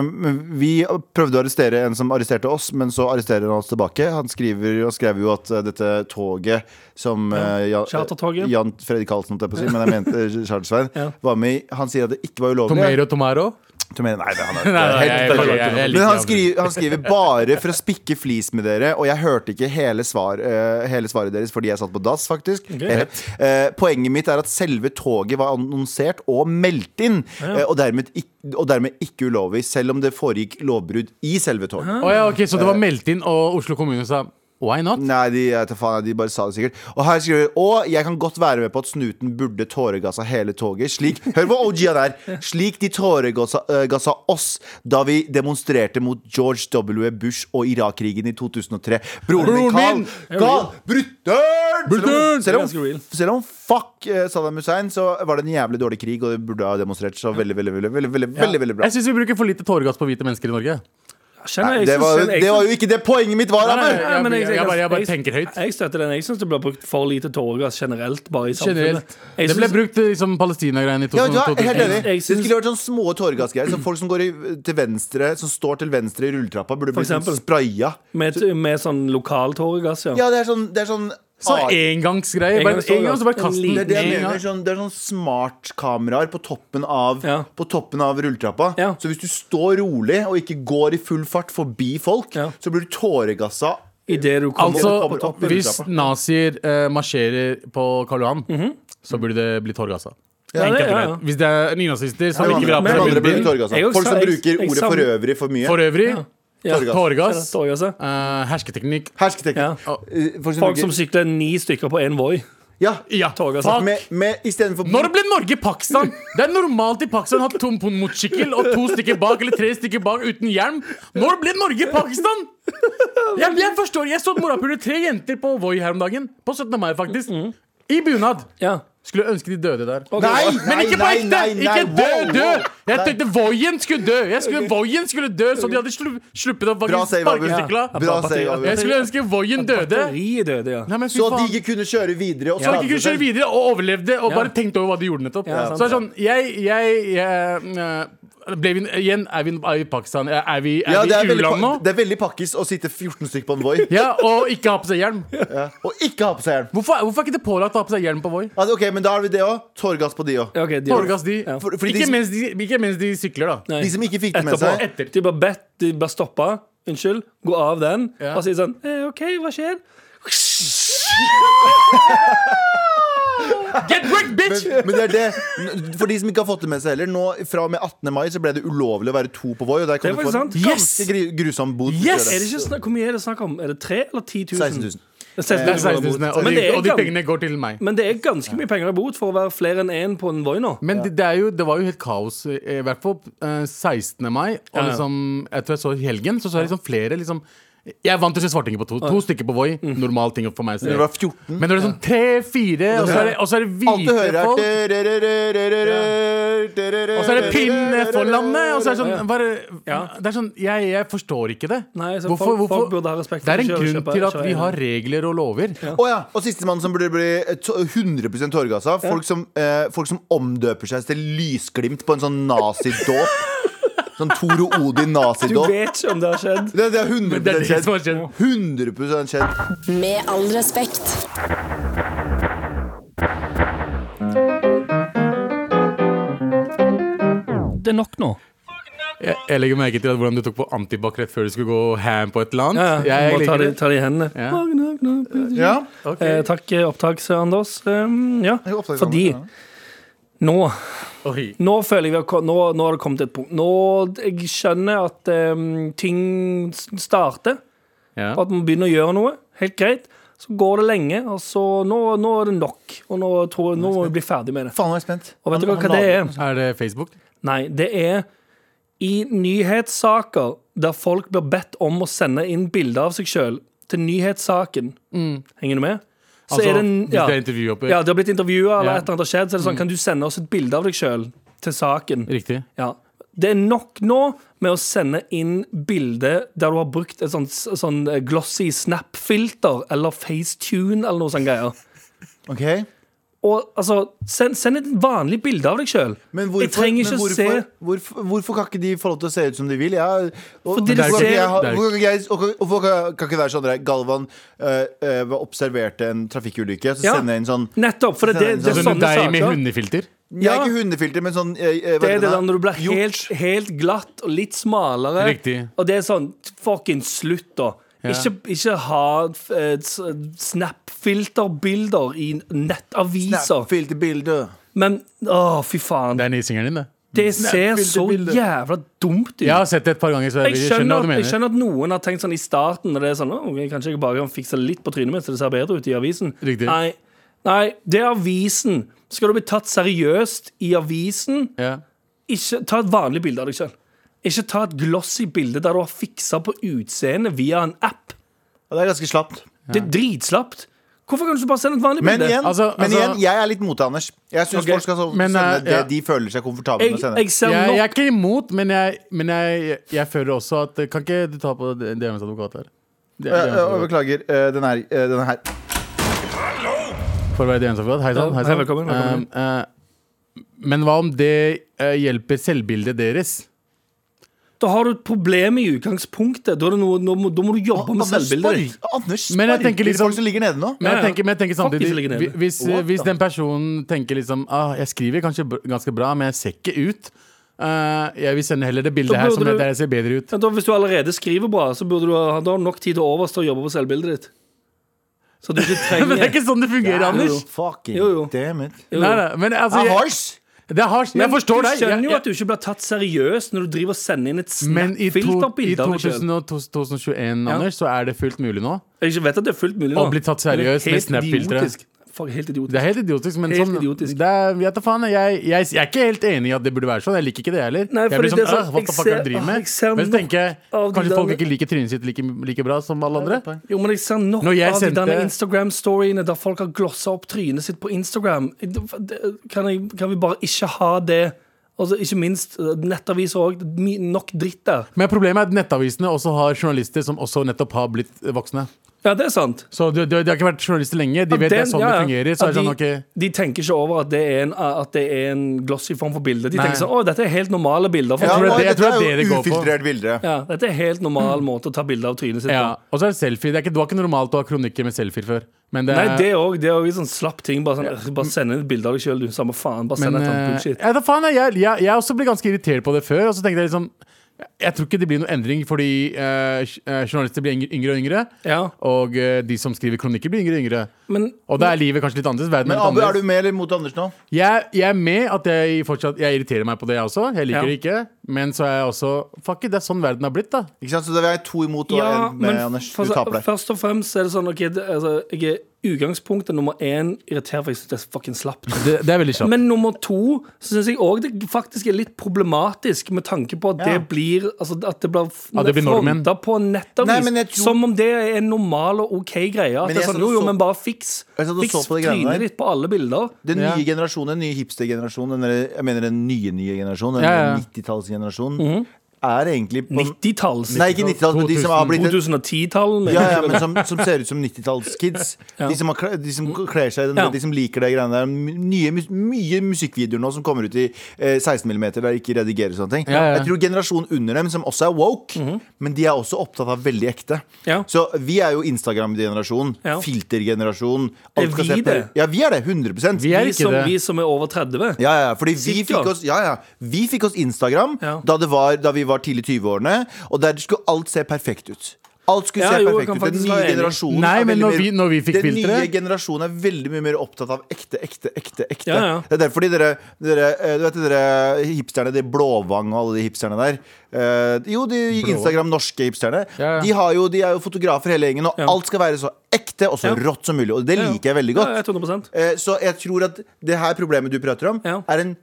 Speaker 4: vi prøvde å arrestere en som arresterte oss, men så arresterer han oss tilbake. Han skriver og skrev jo at eh, dette toget som eh, Jan,
Speaker 3: chartertoget.
Speaker 4: Jan Fredrik Karlsen, holdt jeg på å si, men jeg mente eh, Charles Svein,
Speaker 3: Ja.
Speaker 4: var med i. Han sier at det ikke var ulovlig.
Speaker 2: Tomero, tomero.
Speaker 4: Tomer, nei, det, han er,
Speaker 2: Nei, nei,
Speaker 4: helt
Speaker 2: jeg- jeg- jeg- jeg liker
Speaker 4: men han
Speaker 2: aldri.
Speaker 4: skriver, han skriver bare for å spikke flis med dere, og jeg hørte ikke hele, svar, eh, hele svaret deres fordi jeg satt på dass, faktisk. Eh, eh, poenget mitt er at selve toget var annonsert og meldt inn, eh, og, dermed ikk- og dermed ikke ulovlig, selv om det foregikk lovbrudd i selve toget.
Speaker 2: Å ja, ok, Så
Speaker 4: Eh.
Speaker 2: det var meldt inn, og Oslo kommune sa why not?
Speaker 4: Nei, de, jeg vet da faen, de bare sa det sikkert. Og her skriver de Og jeg kan godt være med på at snuten burde tåregassa hele toget. Slik Hør på OG han er! Slik de tåregassa eh, gassa oss da vi demonstrerte mot George W. Bush og Irak-krigen i 2003. Broren
Speaker 2: Broren
Speaker 4: min, Carl!
Speaker 2: min!
Speaker 4: Carl Brutter'n!
Speaker 2: Brutter'n!
Speaker 3: Det er
Speaker 4: Selv om,
Speaker 3: ganske
Speaker 4: selv om,
Speaker 3: real.
Speaker 4: selv om fuck eh, Saddam Hussein, så var det en jævlig dårlig krig, og det burde ha demonstrert så veldig, veldig, veldig, veldig, veldig, veldig, veldig bra.
Speaker 2: Jeg syns vi bruker for lite tåregass på hvite mennesker i Norge.
Speaker 3: Kjenner jeg,
Speaker 4: Det
Speaker 3: jeg
Speaker 4: var,
Speaker 3: synes- jeg
Speaker 4: det var
Speaker 3: synes-
Speaker 4: jo ikke det poenget mitt var,
Speaker 2: Nei, nei,
Speaker 4: Amel!
Speaker 2: nei. Jeg- jeg- jeg bare- jeg bare tenker høyt.
Speaker 3: Jeg støtter den. Jeg syns det blir brukt for lite tåregass generelt. Bare i samfunnet.
Speaker 2: Generelt.
Speaker 3: Jeg
Speaker 2: Det ble
Speaker 3: synes-
Speaker 2: brukt eh, liksom Palestina-greiene i
Speaker 4: Ja, vet du hva? Jeg er
Speaker 2: 2000.
Speaker 4: helt enig.
Speaker 3: Sånn Jeg- jeg
Speaker 4: Det
Speaker 3: syns-
Speaker 4: skulle vært sånn små tåregassgreier. Så folk som går i, til venstre Som står til venstre i rulletrappa, burde
Speaker 3: For
Speaker 4: bli sånn
Speaker 3: eksempel.
Speaker 4: spraya.
Speaker 3: Med, med sånn lokal tåregass, ja.
Speaker 4: Ja, det er sånn, det er sånn
Speaker 2: Så
Speaker 4: ah, det
Speaker 2: engangsgreier. Bare
Speaker 3: Engangstorgas.
Speaker 2: en gang, så bare kast den
Speaker 4: er det
Speaker 2: en
Speaker 4: jeg mener.
Speaker 2: gang.
Speaker 4: Sånn, det er sånn smartkameraer på toppen av
Speaker 3: Ja.
Speaker 4: På toppen av rulletrappa.
Speaker 3: Ja.
Speaker 4: Så hvis du står rolig og ikke går i full fart forbi folk,
Speaker 3: Ja.
Speaker 4: så blir du tåregassa.
Speaker 3: Idet du kommer
Speaker 4: Kommer liksom.
Speaker 2: Altså,
Speaker 4: opp i
Speaker 2: hvis
Speaker 4: rulletrappa.
Speaker 2: nazier eh, marsjerer på Karl Johan, så burde det bli tåregassa.
Speaker 3: Mhm. Ja, det- ja, ja.
Speaker 2: Hvis det er nynazister som
Speaker 4: Men
Speaker 2: ikke vil ha på
Speaker 4: men
Speaker 2: seg
Speaker 4: andre blir
Speaker 2: munnbind.
Speaker 4: tåregassa.
Speaker 3: Jeg også
Speaker 4: Folk
Speaker 3: sa-
Speaker 4: som
Speaker 3: jeg-
Speaker 4: bruker
Speaker 3: jeg
Speaker 4: ordet
Speaker 3: savner-
Speaker 4: for øvrig for mye.
Speaker 2: For øvrig,
Speaker 3: Ja.
Speaker 2: tåregass,
Speaker 3: Tåregass, ja.
Speaker 2: eh, hersketeknikk
Speaker 4: Hersketeknikk.
Speaker 3: Ja.
Speaker 4: Eh, Folk som
Speaker 3: Folk som
Speaker 4: bruker
Speaker 3: sykler ni stykker på én Voi.
Speaker 4: Ja.
Speaker 2: Ja,
Speaker 3: Tåregass.
Speaker 2: fuck.
Speaker 4: Med, med, istedenfor
Speaker 2: Når ble Norge Pakistan? Det er normalt i Pakistan å ha tom motorsykkel og to stykker bak eller tre stykker bak uten hjelm. Når ble Norge Pakistan? Jeg, jeg forstår, jeg så morapuler tre jenter på Voi her om dagen. På 17. mai, faktisk. I bunad.
Speaker 3: Ja.
Speaker 2: Skulle ønske de døde der.
Speaker 4: Nei,
Speaker 2: Men ikke på
Speaker 4: nei,
Speaker 2: ekte!
Speaker 4: nei, nei,
Speaker 2: Ikke
Speaker 4: wow,
Speaker 2: dø, dø!
Speaker 4: wow.
Speaker 2: Jeg tenkte Voien skulle dø! Jeg skulle, Voien skulle dø, så de hadde slu, sluppet å
Speaker 4: Bra
Speaker 2: faktisk
Speaker 4: save, Abu.
Speaker 2: sparke sykla.
Speaker 4: Bra save, Abu.
Speaker 2: Jeg skulle ønske Voien døde.
Speaker 3: Batteriet døde, ja.
Speaker 2: Nei, men fy
Speaker 4: Så at de
Speaker 2: faen.
Speaker 4: ikke kunne kjøre videre. Og
Speaker 2: Så de ikke kunne kjøre videre og overlevde og
Speaker 3: Ja.
Speaker 2: bare tenkte over hva de gjorde nettopp.
Speaker 3: Ja,
Speaker 2: så
Speaker 3: sant.
Speaker 2: det er sånn, jeg, jeg, jeg eh, ble vi, Igjen, er vi er vi i Pakistan? Eh, Er vi, er
Speaker 4: Ja, det er,
Speaker 2: vi i
Speaker 4: veldig,
Speaker 2: u-land nå?
Speaker 4: pa- det er veldig pakkis å sitte 14 stykker på en Voi
Speaker 2: Ja, og ikke ha på seg hjelm.
Speaker 4: ja. og ikke ha på seg hjelm.
Speaker 2: Hvorfor, hvorfor er ikke det pålagt å ha på seg hjelm på Voi?
Speaker 4: Ja, ok, Men da har vi det òg. Tåregass på de òg.
Speaker 3: Ja, ok, de-
Speaker 2: Tåregass de.
Speaker 3: Ja.
Speaker 4: For- fordi de
Speaker 2: ikke,
Speaker 4: som-
Speaker 2: mens de, ikke mens de sykler, da.
Speaker 3: Nei.
Speaker 4: De som ikke fikk det med
Speaker 3: Etterpå.
Speaker 4: seg.
Speaker 2: Etter.
Speaker 3: De bare bedt, de bare stoppa. Unnskyld. Gå av den.
Speaker 2: Ja.
Speaker 3: Og si sånn eh, OK, hva skjer?
Speaker 2: Get wrecked, bitch!
Speaker 4: Men det er det. N- For de som ikke har fått det med seg heller, nå fra og med 18. mai så ble det ulovlig å være to på Voi. Og der
Speaker 3: Det
Speaker 4: kan
Speaker 3: er
Speaker 4: du få en
Speaker 3: faktisk sant.
Speaker 4: ganske gru- grusom bod. hvis du
Speaker 2: Yes!
Speaker 4: gjør
Speaker 3: Er
Speaker 4: det.
Speaker 3: det ikke snakk, hvor mye er det snakk om? Er det 3000 eller 10 000? Det
Speaker 4: 16 000.
Speaker 3: er 16
Speaker 2: Det er 16 000,
Speaker 3: 000 kroner bot.
Speaker 2: og
Speaker 3: Men
Speaker 2: de,
Speaker 3: det er
Speaker 2: og de
Speaker 3: gam-
Speaker 2: pengene går til meg.
Speaker 3: Men det er ganske mye penger i bot for å være flere enn én på en Voi nå.
Speaker 2: Men det, det, er jo, det var jo helt kaos, eh, i hvert fall eh, 16. mai. Og
Speaker 3: Ja, ja.
Speaker 2: liksom, jeg tror jeg så i helgen, så så jeg liksom flere liksom jeg er vant til å se svartinger på to. To stykker på Voi. Normal ting for meg. å se.
Speaker 4: Mm. Men det
Speaker 2: Men når det er
Speaker 4: var 14.
Speaker 2: sånn tre-fire, og, så er det- og så er det
Speaker 4: Alt du hører,
Speaker 2: hvite folk.
Speaker 4: er
Speaker 2: Og så er det pinne for landet! Og så er det sånn, bare,
Speaker 3: Ja.
Speaker 2: det er sånn jeg, jeg forstår ikke det.
Speaker 3: Nei, så folk- folk burde ha respekt for
Speaker 2: det er en
Speaker 3: å kjøre-
Speaker 2: grunn
Speaker 3: kjøpe-
Speaker 2: til at
Speaker 3: kjøre
Speaker 2: vi
Speaker 3: egen.
Speaker 2: har regler og lover.
Speaker 4: Å ja. Og sistemann som burde bli eh, to- 100 tåregassa. Folk, som, eh, folk som omdøper seg til lysglimt på en sånn nazidåp. sånn Toro Odin
Speaker 3: Du
Speaker 4: nazidåp.
Speaker 3: vet ikke om det har skjedd.
Speaker 4: Det, det er 100
Speaker 2: Det er det
Speaker 4: skjedd.
Speaker 2: som har skjedd.
Speaker 4: 100 skjedd.
Speaker 5: Med all respekt.
Speaker 3: Det er nok nå.
Speaker 2: Jeg, jeg legger merke til at hvordan du tok på antibac rett før du skulle gå ham på et eller
Speaker 3: Ja,
Speaker 2: annet.
Speaker 3: ja.
Speaker 2: Jeg
Speaker 3: Må ta
Speaker 2: liker
Speaker 3: det,
Speaker 2: det.
Speaker 3: ta det i hendene.
Speaker 2: Ja.
Speaker 3: Nok, nok, nok, nok.
Speaker 4: Ja.
Speaker 3: Eh, takk, eh, opptaks, Anders. Um, ja,
Speaker 4: Jeg er opptatt av
Speaker 3: fordi
Speaker 4: det, ja.
Speaker 3: nå,
Speaker 2: Oi.
Speaker 3: nå føler jeg vi har kom- nå, nå har det kommet til et punkt. Nå, jeg skjønner at um, ting s- starter.
Speaker 2: Ja.
Speaker 3: Og at man begynner å gjøre noe. Helt greit. Så går det lenge, og så nå, nå er det nok. Og nå, tror jeg, nå må vi bli ferdig med det.
Speaker 4: Faen, nå er jeg spent.
Speaker 3: Og vet dere
Speaker 4: Han-
Speaker 3: hva
Speaker 4: han
Speaker 3: det
Speaker 4: lager-
Speaker 3: er?
Speaker 2: Er det Facebook?
Speaker 3: Nei, det er i nyhetssaker der folk blir bedt om å sende inn bilder av seg sjøl til nyhetssaken. Henger du med?
Speaker 2: Mm.
Speaker 3: Så
Speaker 2: Altså,
Speaker 3: er det en,
Speaker 2: hvis
Speaker 3: ja,
Speaker 2: det er intervju oppe?
Speaker 3: ja, de har blitt intervjua,
Speaker 2: Ja.
Speaker 3: eller
Speaker 2: Mm.
Speaker 3: et eller annet har skjedd, så er det sånn, kan du sende oss et bilde av deg sjøl til saken?
Speaker 2: Riktig.
Speaker 3: Ja. Det er nok nå med å sende inn bilde der du har brukt et sånt, eh, sånn glossy snap-filter eller FaceTune eller noe sånt greier.
Speaker 4: Ok
Speaker 3: og altså, send, send et vanlig bilde av deg sjøl.
Speaker 4: Men hvorfor,
Speaker 3: Jeg trenger ikke
Speaker 4: men
Speaker 3: å
Speaker 4: hvorfor,
Speaker 3: se
Speaker 4: hvorfor, hvorfor kan ikke de få lov til å se ut som de vil? Jeg, og,
Speaker 3: Fordi
Speaker 4: hvorfor
Speaker 3: det
Speaker 4: kan ikke
Speaker 3: ser-
Speaker 4: jeg ha-
Speaker 2: det er-
Speaker 4: hvorfor kan ikke jeg- og- og hvorfor kan kan ikke være sånn der, Galvan øh, øh, var- observerte en trafikkulykke, så
Speaker 3: Ja.
Speaker 4: sender jeg inn sånn
Speaker 3: Nettopp, for det, det, det er
Speaker 2: Sånn
Speaker 3: sånne
Speaker 2: deg med
Speaker 3: saker.
Speaker 2: hundefilter?
Speaker 4: Jeg er
Speaker 3: Ja.
Speaker 4: ikke hundefilter, men sånn øh, øh, hva
Speaker 3: Det er det
Speaker 4: heter
Speaker 3: der
Speaker 4: da?
Speaker 3: når du blir
Speaker 4: Jo,
Speaker 3: helt, helt glatt og litt smalere.
Speaker 2: Riktig.
Speaker 3: Og det er sånn Fucking slutt, da.
Speaker 2: Ja.
Speaker 3: Ikke, ikke ha eh, s- Snap-filterbilder i nettaviser.
Speaker 4: Snap-filterbilde.
Speaker 3: Men å, fy faen.
Speaker 2: Det er nysingeren din, det.
Speaker 3: Det ser så
Speaker 4: Snap-filterbilder.
Speaker 3: jævla dumt ut.
Speaker 2: Jeg har sett det et par ganger, så jeg,
Speaker 3: Jeg
Speaker 2: skjønner hva
Speaker 3: skjønner,
Speaker 2: du
Speaker 3: jeg
Speaker 2: mener.
Speaker 3: skjønner at noen har tenkt sånn i starten Når det er sånn, «Å, ok, Kanskje jeg bare kan fikse litt på trynet mitt, så det ser bedre ut i avisen.
Speaker 2: Riktig.
Speaker 3: Nei, nei, det er avisen. Skal du bli tatt seriøst i avisen,
Speaker 2: Ja.
Speaker 3: ikke ta et vanlig bilde av deg sjøl. Ikke ta et glossy bilde der du har fiksa på utseendet via en app.
Speaker 4: Ja, Det er ganske slapt.
Speaker 3: Det er dritslapt. Hvorfor kan du ikke bare sende et vanlig
Speaker 4: Men
Speaker 3: bilde?
Speaker 4: igjen,
Speaker 2: Altså,
Speaker 4: men
Speaker 2: altså-
Speaker 4: igjen jeg er litt mot det, Anders. Jeg syns
Speaker 3: Ok,
Speaker 4: folk skal så-
Speaker 2: men,
Speaker 4: sende
Speaker 2: øh,
Speaker 4: det
Speaker 2: ja.
Speaker 4: de føler seg komfortable
Speaker 3: Jeg,
Speaker 4: med å sende.
Speaker 3: jeg ser
Speaker 2: Jeg,
Speaker 3: nok
Speaker 2: jeg er ikke imot, men jeg, men jeg, jeg føler også at Kan ikke du ta på DMs advokat her? Det-
Speaker 4: Øh,
Speaker 2: DMs
Speaker 4: øh,
Speaker 2: advokat.
Speaker 4: beklager.
Speaker 2: eh,
Speaker 4: øh, den her. øh, den her.
Speaker 2: For å være DMs advokat. Hei sann.
Speaker 3: Ja,
Speaker 2: hei
Speaker 3: hei,
Speaker 2: sann.
Speaker 3: velkommen, velkommen.
Speaker 2: Eh, eh, men hva om det eh, hjelper selvbildet deres?
Speaker 3: Da har du et problem i utgangspunktet. Da, er det noe, nå må, da må du jobbe med
Speaker 4: Anders
Speaker 3: selvbildet ditt.
Speaker 4: sparker- Anders
Speaker 2: Men jeg tenker
Speaker 4: sparker
Speaker 2: liksom-
Speaker 4: folk som ligger nede nå.
Speaker 2: Men jeg
Speaker 3: Ja, ja.
Speaker 2: tenker, men jeg tenker
Speaker 3: Fuck de som
Speaker 2: samtidig
Speaker 3: ligger nede.
Speaker 2: hvi- hvis,
Speaker 3: What
Speaker 2: hvis
Speaker 3: the-
Speaker 2: den personen tenker liksom ah, Jeg skriver kanskje br- ganske bra, men jeg ser ikke ut. Eh, jeg vil sende heller det bildet
Speaker 3: Da
Speaker 2: her som
Speaker 3: burde
Speaker 2: det
Speaker 3: du-
Speaker 2: der jeg ser bedre ut.
Speaker 3: Ja, da, hvis du allerede skriver bra, så burde du ha, da har du nok tid til overs til å jobbe på selvbildet ditt. Så du ikke trenger
Speaker 2: Men det er ikke sånn det fungerer, Anders.
Speaker 4: Fucking
Speaker 3: Jo, jo.
Speaker 4: damn it.
Speaker 3: Jo, jo.
Speaker 2: Nei, nei, men altså,
Speaker 4: Jeg,
Speaker 2: jeg, det er hardt. Jeg forstår
Speaker 3: du
Speaker 2: deg. Jeg-
Speaker 3: skjønner jo
Speaker 2: jeg-
Speaker 3: at du ikke blir tatt seriøst når du driver og sender inn et
Speaker 2: Men i, to, i
Speaker 3: snap-filterbilde av deg selv.
Speaker 2: 2000 og 2021
Speaker 3: Ja.
Speaker 2: Anders, så er det fullt mulig nå.
Speaker 3: Jeg vet at det er fullt mulig nå.
Speaker 2: Å bli tatt seriøst
Speaker 3: Men det er
Speaker 2: med
Speaker 3: helt
Speaker 2: Snap-filtre.
Speaker 3: idiotisk. Fuck, Helt idiotisk.
Speaker 2: Det er helt idiotisk, men
Speaker 3: Helt
Speaker 2: sånn,
Speaker 3: idiotisk.
Speaker 2: Det er, jeg, tar faen, jeg, jeg, jeg er ikke helt enig i at det burde være sånn. Jeg liker ikke det heller.
Speaker 3: Nei,
Speaker 2: jeg blir
Speaker 3: fordi
Speaker 2: sånn,
Speaker 3: det er sånn,
Speaker 2: «Åh, what
Speaker 3: jeg
Speaker 2: the fuck er det
Speaker 3: ser-
Speaker 2: du driver
Speaker 3: åh,
Speaker 2: med?
Speaker 3: jeg ser
Speaker 2: Men så tenker jeg,
Speaker 3: av de
Speaker 2: kanskje folk
Speaker 3: der-
Speaker 2: ikke liker trynet sitt like, like bra som alle andre.
Speaker 3: Jo, men jeg ser nok
Speaker 2: Når jeg
Speaker 3: av de
Speaker 2: sendte-
Speaker 3: denne Instagram-storyene der folk har glossa opp trynet sitt på Instagram. Det- Kan, jeg, kan vi bare ikke ha det? Altså, ikke minst eh, nettaviser òg. Nok dritt der.
Speaker 2: Men problemet er at nettavisene også har journalister som også nettopp har blitt voksne.
Speaker 3: Ja, det er sant.
Speaker 2: Så de, de, de har ikke vært journalister lenge. De
Speaker 3: Ja,
Speaker 2: vet det er
Speaker 3: den-
Speaker 2: sånn
Speaker 3: ja,
Speaker 2: det
Speaker 3: ja.
Speaker 2: fungerer. Så
Speaker 3: At
Speaker 2: er det sånn,
Speaker 3: de,
Speaker 2: ok
Speaker 3: de tenker ikke over at det er en, at det er en glossy form for bilde. De
Speaker 2: Nei.
Speaker 3: tenker sånn Å, dette er helt normale bilder. For
Speaker 2: Ja.
Speaker 3: ja.
Speaker 2: tror det er
Speaker 4: og
Speaker 2: det- jeg
Speaker 4: dette
Speaker 2: tror det er det
Speaker 4: er
Speaker 2: det
Speaker 4: jo
Speaker 2: går på.
Speaker 4: ufiltrert bilde.
Speaker 3: dette er helt normal måte å ta bilde av trynet sitt
Speaker 2: ja.
Speaker 3: på.
Speaker 2: Og så er det selfie. Det, er ikke, det var ikke normalt å ha kronikker med selfier før. Men det,
Speaker 3: Nei,
Speaker 2: er-
Speaker 3: det òg. Det er også en sånn slapp ting. Bare, sånn, «Øh, bare send inn et bilde av deg sjøl, du. Samme faen. Bare send
Speaker 2: Men
Speaker 3: et eller annet
Speaker 2: eh, jeg,
Speaker 3: bullshit.
Speaker 2: vet da faen, jeg, jeg, jeg, jeg også ble ganske irritert på det før. Og så tenkte jeg liksom Jeg tror ikke det blir noen endring, fordi eh, j- eh, journalister blir yngre- yngre og yngre.
Speaker 3: Ja,
Speaker 2: Og eh, de som skriver kronikker, blir yngre og yngre.
Speaker 3: men
Speaker 2: Og da er livet kanskje litt annerledes. Verden
Speaker 4: Men
Speaker 2: er litt
Speaker 4: Abu, er du
Speaker 2: annerledes.
Speaker 4: med eller mot Anders nå?
Speaker 2: Jeg, jeg er med at jeg fortsatt Jeg irriterer meg på det, jeg også. Jeg liker
Speaker 3: Ja.
Speaker 2: det ikke. Men så er jeg også Fuck it, det er sånn verden har blitt, da.
Speaker 4: Ikke sant? Så det er to imot og
Speaker 3: ja,
Speaker 4: en med,
Speaker 3: men
Speaker 4: Anders. Du
Speaker 3: først-
Speaker 4: taper det.
Speaker 3: Først og fremst er det sånn ok, det, altså, Jeg er utgangspunktet nummer én irritert, for jeg syns det er fucking slapt.
Speaker 2: Det, det er veldig kjapt.
Speaker 3: Men nummer to så syns jeg òg det faktisk er litt problematisk, med tanke på at
Speaker 4: Ja.
Speaker 3: det blir altså, At det blir
Speaker 2: Ja, det blir normen.
Speaker 3: fronta på en nettavis.
Speaker 4: Nei, men jeg tror-
Speaker 3: Som om det er en normal og OK greie. At det
Speaker 4: Men jeg
Speaker 3: er
Speaker 4: satt
Speaker 3: sånn,
Speaker 4: og
Speaker 3: jo, jo,
Speaker 4: så-
Speaker 3: men bare fiks
Speaker 4: Jeg satt og
Speaker 3: Fiks
Speaker 4: så på det greiene der.
Speaker 3: trynet ditt på alle bilder.
Speaker 4: Den nye
Speaker 2: Ja.
Speaker 4: generasjonen, den nye hipstergenerasjonen, den der- jeg mener den nye nye generasjonen, den
Speaker 2: Ja, ja. Mhm.
Speaker 4: 90-tallsgenerasjonen, er egentlig på
Speaker 3: 90-talls.
Speaker 4: Nei, ikke 90-tallet, men de som har blitt
Speaker 3: 2010-tall.
Speaker 4: ja, ja, men som, som ser ut som 90-tallskids.
Speaker 3: Ja.
Speaker 4: De som, har kle- de som kler seg i den,
Speaker 3: Ja.
Speaker 4: de som liker det greiene der. Nye, mus- mye musikkvideoer nå som kommer ut i eh, 16 mm, der ikke redigerer sånne ting.
Speaker 2: Ja, ja.
Speaker 4: Jeg tror generasjonen under dem, som også er woke, men de er også opptatt av veldig ekte.
Speaker 3: Mhm. Ja.
Speaker 4: Så vi er jo Instagram-generasjonen,
Speaker 3: Ja.
Speaker 4: filtergenerasjonen.
Speaker 3: Er
Speaker 4: alt skal
Speaker 3: vi
Speaker 4: se på-
Speaker 3: det?
Speaker 4: Ja, vi er det. 100
Speaker 2: Vi er
Speaker 3: vi,
Speaker 2: ikke
Speaker 3: som,
Speaker 2: det.
Speaker 3: vi som er over 30.
Speaker 4: ja, ja, fordi vi
Speaker 3: Sikkert.
Speaker 4: fikk, oss, ja, ja. vi fikk oss Instagram
Speaker 3: Ja.
Speaker 4: da, det var, da vi var tidlig i 20-årene, og der skulle alt se perfekt ut. Alt skulle
Speaker 3: Ja,
Speaker 4: se
Speaker 3: jo, jeg
Speaker 4: perfekt
Speaker 3: kan
Speaker 4: ut. Den
Speaker 3: faktisk
Speaker 4: nye
Speaker 3: være enig.
Speaker 4: generasjonen
Speaker 2: Nei,
Speaker 4: er
Speaker 2: men
Speaker 4: veldig
Speaker 2: når
Speaker 4: mer-
Speaker 2: vi- når vi fikk
Speaker 4: Den
Speaker 2: filtre-
Speaker 4: nye generasjonen er veldig mye mer opptatt av ekte, ekte, ekte. ekte
Speaker 3: Ja, ja.
Speaker 4: Det er derfor de dere, dere, eh, du vet, de dere hipsterne, de Blåvang og alle de hipsterne der eh, Jo, de Instagram norske hipsterne.
Speaker 2: Ja, ja.
Speaker 4: De, har jo, de er jo fotografer hele gjengen, og
Speaker 3: Ja.
Speaker 4: alt skal være så ekte og så
Speaker 3: Ja.
Speaker 4: rått som mulig. Og det liker jeg veldig godt.
Speaker 3: Ja, 100
Speaker 4: Eh, Så jeg tror at det her problemet du prater om,
Speaker 3: Ja.
Speaker 4: er en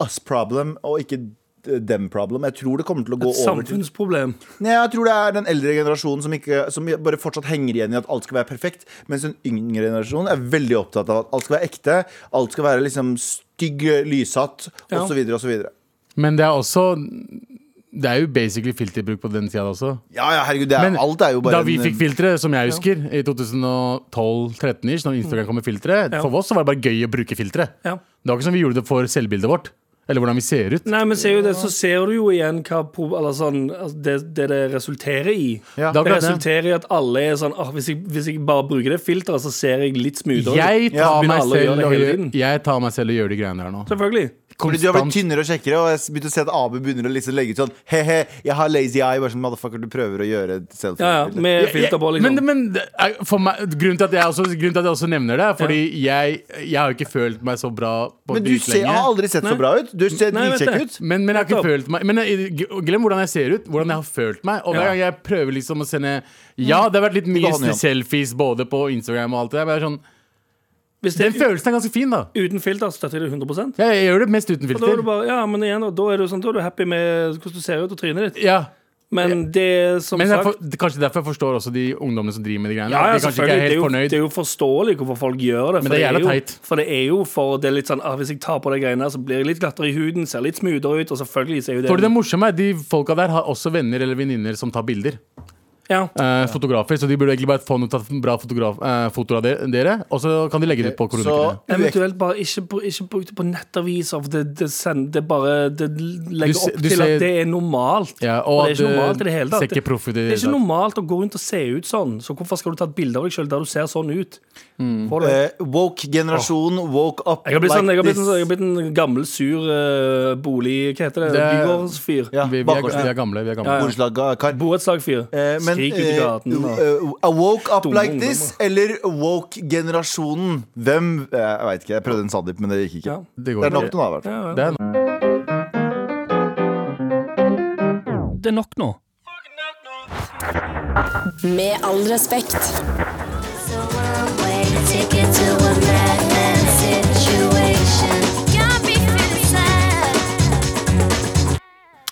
Speaker 4: us problem og ikke dem problem. Jeg tror det kommer til å gå
Speaker 3: Et
Speaker 4: over til
Speaker 3: samfunnsproblem.
Speaker 4: Nei, Jeg tror det er den eldre generasjonen som, ikke, som bare fortsatt henger igjen i at alt skal være perfekt, mens den yngre generasjonen er veldig opptatt av at alt skal være ekte, alt skal være liksom stygg, lyssatt,
Speaker 3: Ja.
Speaker 4: osv., osv.
Speaker 2: Men det er også Det er jo basically filterbruk på den tida også.
Speaker 4: Ja, ja, herregud, det er,
Speaker 2: Men
Speaker 4: alt er jo bare
Speaker 2: da vi
Speaker 4: en- eh,
Speaker 2: fikk filtre, som jeg husker, i 2012-13 ish, når Instagram kom med filtre, for oss så var det bare gøy å bruke filtre.
Speaker 3: Ja.
Speaker 2: Det var ikke som vi gjorde det for selvbildet vårt, eller hvordan vi ser ut.
Speaker 3: Nei, men ser jo det, så ser du jo igjen hva pro- eller sånn, altså det, det det resulterer i.
Speaker 2: Det er
Speaker 4: Ja.
Speaker 3: Det
Speaker 2: akkurat det.
Speaker 3: resulterer i at alle er sånn ah, hvis, jeg, hvis jeg bare bruker det filteret, så ser jeg litt smoothere ut.
Speaker 2: Jeg
Speaker 4: Ja,
Speaker 2: tar, meg
Speaker 3: begynner alle å gjøre
Speaker 2: selv
Speaker 3: det
Speaker 2: og
Speaker 3: hele
Speaker 2: gjør,
Speaker 3: tiden?
Speaker 2: jeg tar meg selv og gjør de greiene der nå.
Speaker 3: Selvfølgelig.
Speaker 4: Fordi du har blitt
Speaker 2: Konstant.
Speaker 4: tynnere og kjekkere, og jeg begynte å se at Abu begynner å liksom legge ut sånn He-he, jeg har lazy eye. Bare sånn, motherfucker, du prøver å gjøre et selfie.
Speaker 3: Ja, ja, med filter på, liksom.
Speaker 2: Men, men det er- for meg, grunnen, til at jeg også, grunnen til at jeg også nevner det, er fordi jeg, jeg har jo ikke følt meg så bra på
Speaker 4: Men du ser, har
Speaker 2: dritlenge.
Speaker 4: aldri sett så
Speaker 3: Nei.
Speaker 4: bra ut. Du ser
Speaker 3: Nei, jeg vet
Speaker 4: dritkjekk
Speaker 3: det.
Speaker 4: ut.
Speaker 2: Men, men jeg har ikke
Speaker 3: Nettopp.
Speaker 2: følt meg Men jeg- g- glem hvordan jeg ser ut, hvordan jeg har følt meg. Og hver
Speaker 3: Ja.
Speaker 2: gang jeg prøver liksom å sende Ja, det har vært litt
Speaker 4: går
Speaker 2: mye
Speaker 4: hånd i hånd.
Speaker 2: selfies både på Instagram og alt det der, men jeg er sånn,
Speaker 3: Hvis det
Speaker 2: den
Speaker 3: er
Speaker 2: følelsen er ganske fin, da.
Speaker 3: u- uten filter, så støtter jeg det
Speaker 2: Jeg,
Speaker 3: 100
Speaker 2: jeg gjør det mest uten
Speaker 3: Og da er du
Speaker 2: filter.
Speaker 3: bare, ja, men igjen, da, da er du sånn, da er du happy med hvordan du ser ut og trynet ditt.
Speaker 2: Ja
Speaker 3: Men det er som
Speaker 2: men jeg
Speaker 3: sagt
Speaker 2: for, det er kanskje derfor jeg forstår også de ungdommene som driver med de greiene. de kanskje
Speaker 3: Ja, ja,
Speaker 2: ikke
Speaker 3: selvfølgelig.
Speaker 2: er
Speaker 3: Det er,
Speaker 2: helt
Speaker 3: jo,
Speaker 2: fornøyd.
Speaker 3: det er jo forståelig hvorfor folk gjør
Speaker 2: Men
Speaker 3: det.
Speaker 2: det
Speaker 3: for
Speaker 2: er jævla
Speaker 3: jo-
Speaker 2: teit.
Speaker 3: For det er jo for det er litt sånn ah, Hvis jeg tar på de greiene, her, så blir jeg litt glattere i huden, ser litt smoothere ut, og selvfølgelig ser jo det
Speaker 2: Fordi det morsomme er De folka der har også venner eller venninner som tar bilder.
Speaker 3: ja.
Speaker 2: Eh, fotografer, så de burde egentlig bare få noen tatt bra fotograf, eh, foto av de- dere, og så kan de legge
Speaker 3: Eh,
Speaker 2: det ut på
Speaker 4: Så
Speaker 2: kronikerne.
Speaker 3: Eventuelt bare ikke, bru- ikke bruk det på nettaviser, for det, det, send, det bare det legger
Speaker 2: Du se-
Speaker 3: opp
Speaker 2: du
Speaker 3: til
Speaker 2: ser-
Speaker 3: at det er normalt.
Speaker 2: Ja,
Speaker 3: Og
Speaker 2: og eh,
Speaker 3: det er ikke normalt i det hele tatt.
Speaker 2: ser ikke proff ut i
Speaker 3: Det er
Speaker 2: det
Speaker 3: ikke
Speaker 2: hele tatt.
Speaker 3: normalt å gå rundt og se ut sånn, så hvorfor skal du ta et bilde av deg sjøl der du ser sånn ut?
Speaker 2: Mm.
Speaker 3: Får du det?
Speaker 4: Eh, woke generasjon, woke up
Speaker 3: Jeg har blitt, sånn, jeg har blitt,
Speaker 4: this.
Speaker 3: en, jeg har blitt en gammel, sur eh, bolig... Hva heter det?
Speaker 2: Det er-
Speaker 3: Bygårdsfyr.
Speaker 4: Ja,
Speaker 2: Vi, vi, er,
Speaker 4: bakgårdsfyr.
Speaker 2: vi er gamle. Vi er gamle.
Speaker 3: Ja, ja.
Speaker 4: Borettslag, kar.
Speaker 3: Borettslagfyr.
Speaker 4: Eh, men
Speaker 3: Skrik ut i gaten.
Speaker 4: eh,
Speaker 3: og-
Speaker 4: eh, a woke up
Speaker 3: Dumme
Speaker 4: like this
Speaker 3: ungdommer.
Speaker 4: eller woke generasjonen? Hvem eh, Jeg veit ikke. Jeg prøvde en Sandeep, men det gikk ikke.
Speaker 3: Ja.
Speaker 2: Det
Speaker 4: Det
Speaker 2: går
Speaker 4: er nok
Speaker 2: ikke.
Speaker 4: noe avhvert.
Speaker 3: Ja, ja.
Speaker 2: Det er nok.
Speaker 6: Det er nok nå.
Speaker 5: Med all respekt.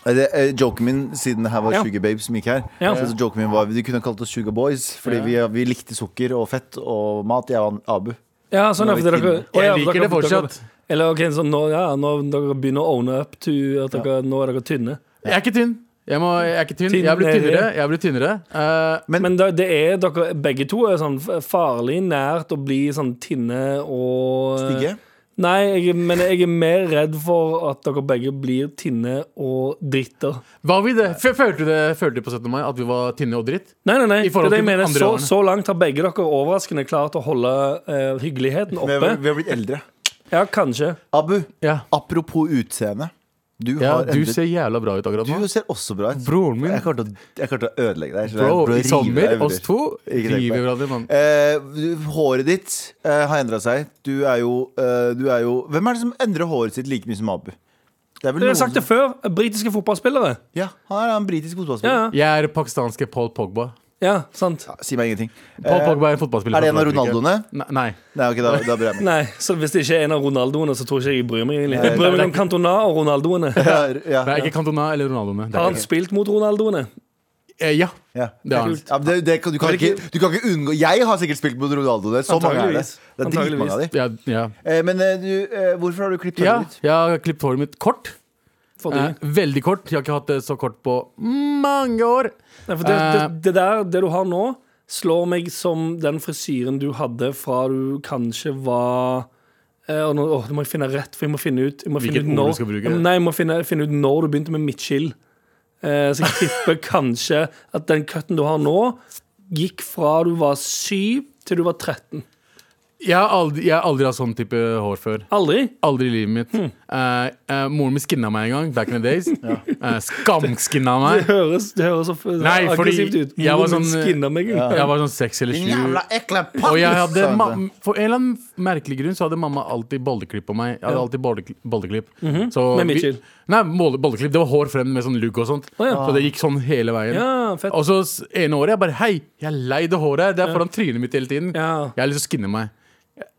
Speaker 4: Eh, det, eh, Joken min siden det her var
Speaker 3: Ja.
Speaker 4: Sugar Babes som gikk her eh,
Speaker 3: Ja.
Speaker 4: så joken min var, De kunne kalt oss Sugar Boys, fordi vi, vi likte sukker og fett og mat. Jeg var Abu.
Speaker 3: Ja, sånn er det for
Speaker 4: Nå
Speaker 3: dere
Speaker 4: er vi inne.
Speaker 3: Å, ja,
Speaker 2: Jeg
Speaker 3: for
Speaker 2: liker det
Speaker 3: dere- dere-
Speaker 2: fortsatt.
Speaker 3: Eller ok, så nå, ja, nå dere begynner å owne up to at dere, nå er dere tynne.
Speaker 2: Jeg er ikke tynn. Jeg, må, jeg er ikke tynn. Jeg har blitt tynnere. Jeg har blitt tynnere. Eh,
Speaker 3: Men da, det er dere begge to er sånn f- farlig nært å bli sånn tynne og
Speaker 4: Digge.
Speaker 3: Nei, jeg, men jeg er mer redd for at dere begge blir tynne og dritter.
Speaker 2: var vi det? F- Følte du det følte du på 17. mai at vi var tynne og dritt?
Speaker 3: Nei, nei, nei.
Speaker 2: I
Speaker 3: Det er
Speaker 2: forhold
Speaker 3: det jeg
Speaker 2: til
Speaker 3: mener.
Speaker 2: andre
Speaker 3: Så,
Speaker 2: årene.
Speaker 3: så langt har begge dere overraskende klart å holde eh, hyggeligheten
Speaker 4: Vi har,
Speaker 3: oppe.
Speaker 4: vi har blitt eldre.
Speaker 3: Ja, kanskje.
Speaker 4: Abu,
Speaker 2: Ja.
Speaker 4: apropos utseende. Du,
Speaker 2: ja
Speaker 4: har
Speaker 2: du
Speaker 4: endret,
Speaker 2: ser jævla bra ut akkurat
Speaker 4: du
Speaker 2: nå.
Speaker 4: ser også bra ut.
Speaker 2: Broren min
Speaker 4: Jeg kommer til å, jeg kommer til å ødelegge deg. så jeg-
Speaker 2: Bro,
Speaker 4: bro,
Speaker 2: i
Speaker 4: rive
Speaker 2: sommer,
Speaker 4: deg i
Speaker 2: oss to,
Speaker 4: Ikke tenk på
Speaker 2: river
Speaker 4: det.
Speaker 2: hverandre, mann.
Speaker 4: Eh, du- håret ditt eh, har endra seg. Du er, jo, eh, du er jo Hvem er det som endrer håret sitt like mye som Abu? Det er vel
Speaker 3: Jeg har
Speaker 4: noen
Speaker 3: sagt det
Speaker 4: som,
Speaker 3: før. Britiske fotballspillere.
Speaker 4: ja, han er en britisk fotballspiller.
Speaker 3: Ja, ja.
Speaker 2: Jeg er pakistanske Paul Pogba.
Speaker 3: ja sant.
Speaker 4: Si meg ingenting.
Speaker 2: Paul
Speaker 4: Eh,
Speaker 2: Pogba er en fotballspiller.
Speaker 4: er det en
Speaker 2: fra
Speaker 4: av
Speaker 2: Frankrike.
Speaker 4: Ronaldoene?
Speaker 2: Nei. nei.
Speaker 4: Nei, ok, da, da bryr jeg meg.
Speaker 3: Nei, så hvis det ikke er en av Ronaldoene, så tror ikke jeg jeg bryr meg. egentlig Jeg bryr meg om Cantona og Ronaldoene.
Speaker 4: Ja,
Speaker 2: Det
Speaker 4: ja,
Speaker 2: er ikke Cantona eller Ronaldoene. Det
Speaker 3: Har
Speaker 2: er
Speaker 3: han spilt mot Ronaldoene?
Speaker 2: ikke- Eh, ja,
Speaker 4: ja.
Speaker 2: det har han.
Speaker 4: Ja, men det, det, kan- du, kan ikke, du kan ikke unngå Jeg har sikkert spilt mot Ronaldo. Det er så mange er det.
Speaker 3: Antageligvis.
Speaker 4: Det er dritmange av de.
Speaker 2: Ja, ja.
Speaker 4: Eh, men eh, du, eh, hvorfor har du klippet
Speaker 2: ja,
Speaker 4: håret ditt?
Speaker 2: jeg har klippet håret mitt kort.
Speaker 3: Fordi,
Speaker 2: Eh, veldig kort. Jeg har ikke hatt det så kort på mange år.
Speaker 3: Nei, for det, det,
Speaker 2: eh.
Speaker 3: det der, det du har nå, slår meg som den frisyren du hadde fra du kanskje var eh, og nå, åh, nå må jeg finne rett, for jeg må finne ut, jeg må finne
Speaker 2: Hvilket ord
Speaker 3: ut
Speaker 2: du
Speaker 3: når
Speaker 2: skal bruke.
Speaker 3: Ja, men Nei, jeg må finne, finne ut når du begynte med midtskill. Eh, så jeg tipper kanskje at den cutten du har nå, gikk fra du var syv til du var 13.
Speaker 2: Jeg har aldri, jeg har aldri hatt sånn type hår før.
Speaker 3: Aldri?
Speaker 2: Aldri i livet mitt.
Speaker 4: Hmm.
Speaker 2: Eh, eh, moren min skinna meg en gang, back in the days. Eh, skamskinna
Speaker 3: Det
Speaker 2: meg.
Speaker 3: høres, det høres så f-
Speaker 2: Nei, fordi
Speaker 3: aggressivt ut.
Speaker 2: jeg var
Speaker 3: Moren min
Speaker 2: sånn-
Speaker 3: skinner meg ut.
Speaker 2: Jeg var sånn seks eller
Speaker 4: Din
Speaker 2: sju.
Speaker 4: jævla ekle altså.
Speaker 2: Og jeg hadde,
Speaker 4: sa han
Speaker 2: ma
Speaker 4: til.
Speaker 2: for en eller annen merkelig grunn så hadde mamma alltid bolleklipp på meg. Jeg hadde alltid bollekli- bolleklipp. Så
Speaker 3: Mhm. Med
Speaker 2: vi-
Speaker 3: midtskill?
Speaker 2: Nei, bolle- bolleklipp. Det var hår frem med sånn lugg og sånt.
Speaker 3: Å, ja.
Speaker 2: Så det gikk sånn hele veien.
Speaker 3: Ja, fett.
Speaker 2: Og så s- ene året jeg bare Hei, jeg er lei det håret her. Det er foran trynet mitt hele tiden.
Speaker 3: Ja.
Speaker 2: Jeg har lyst til å skinne meg.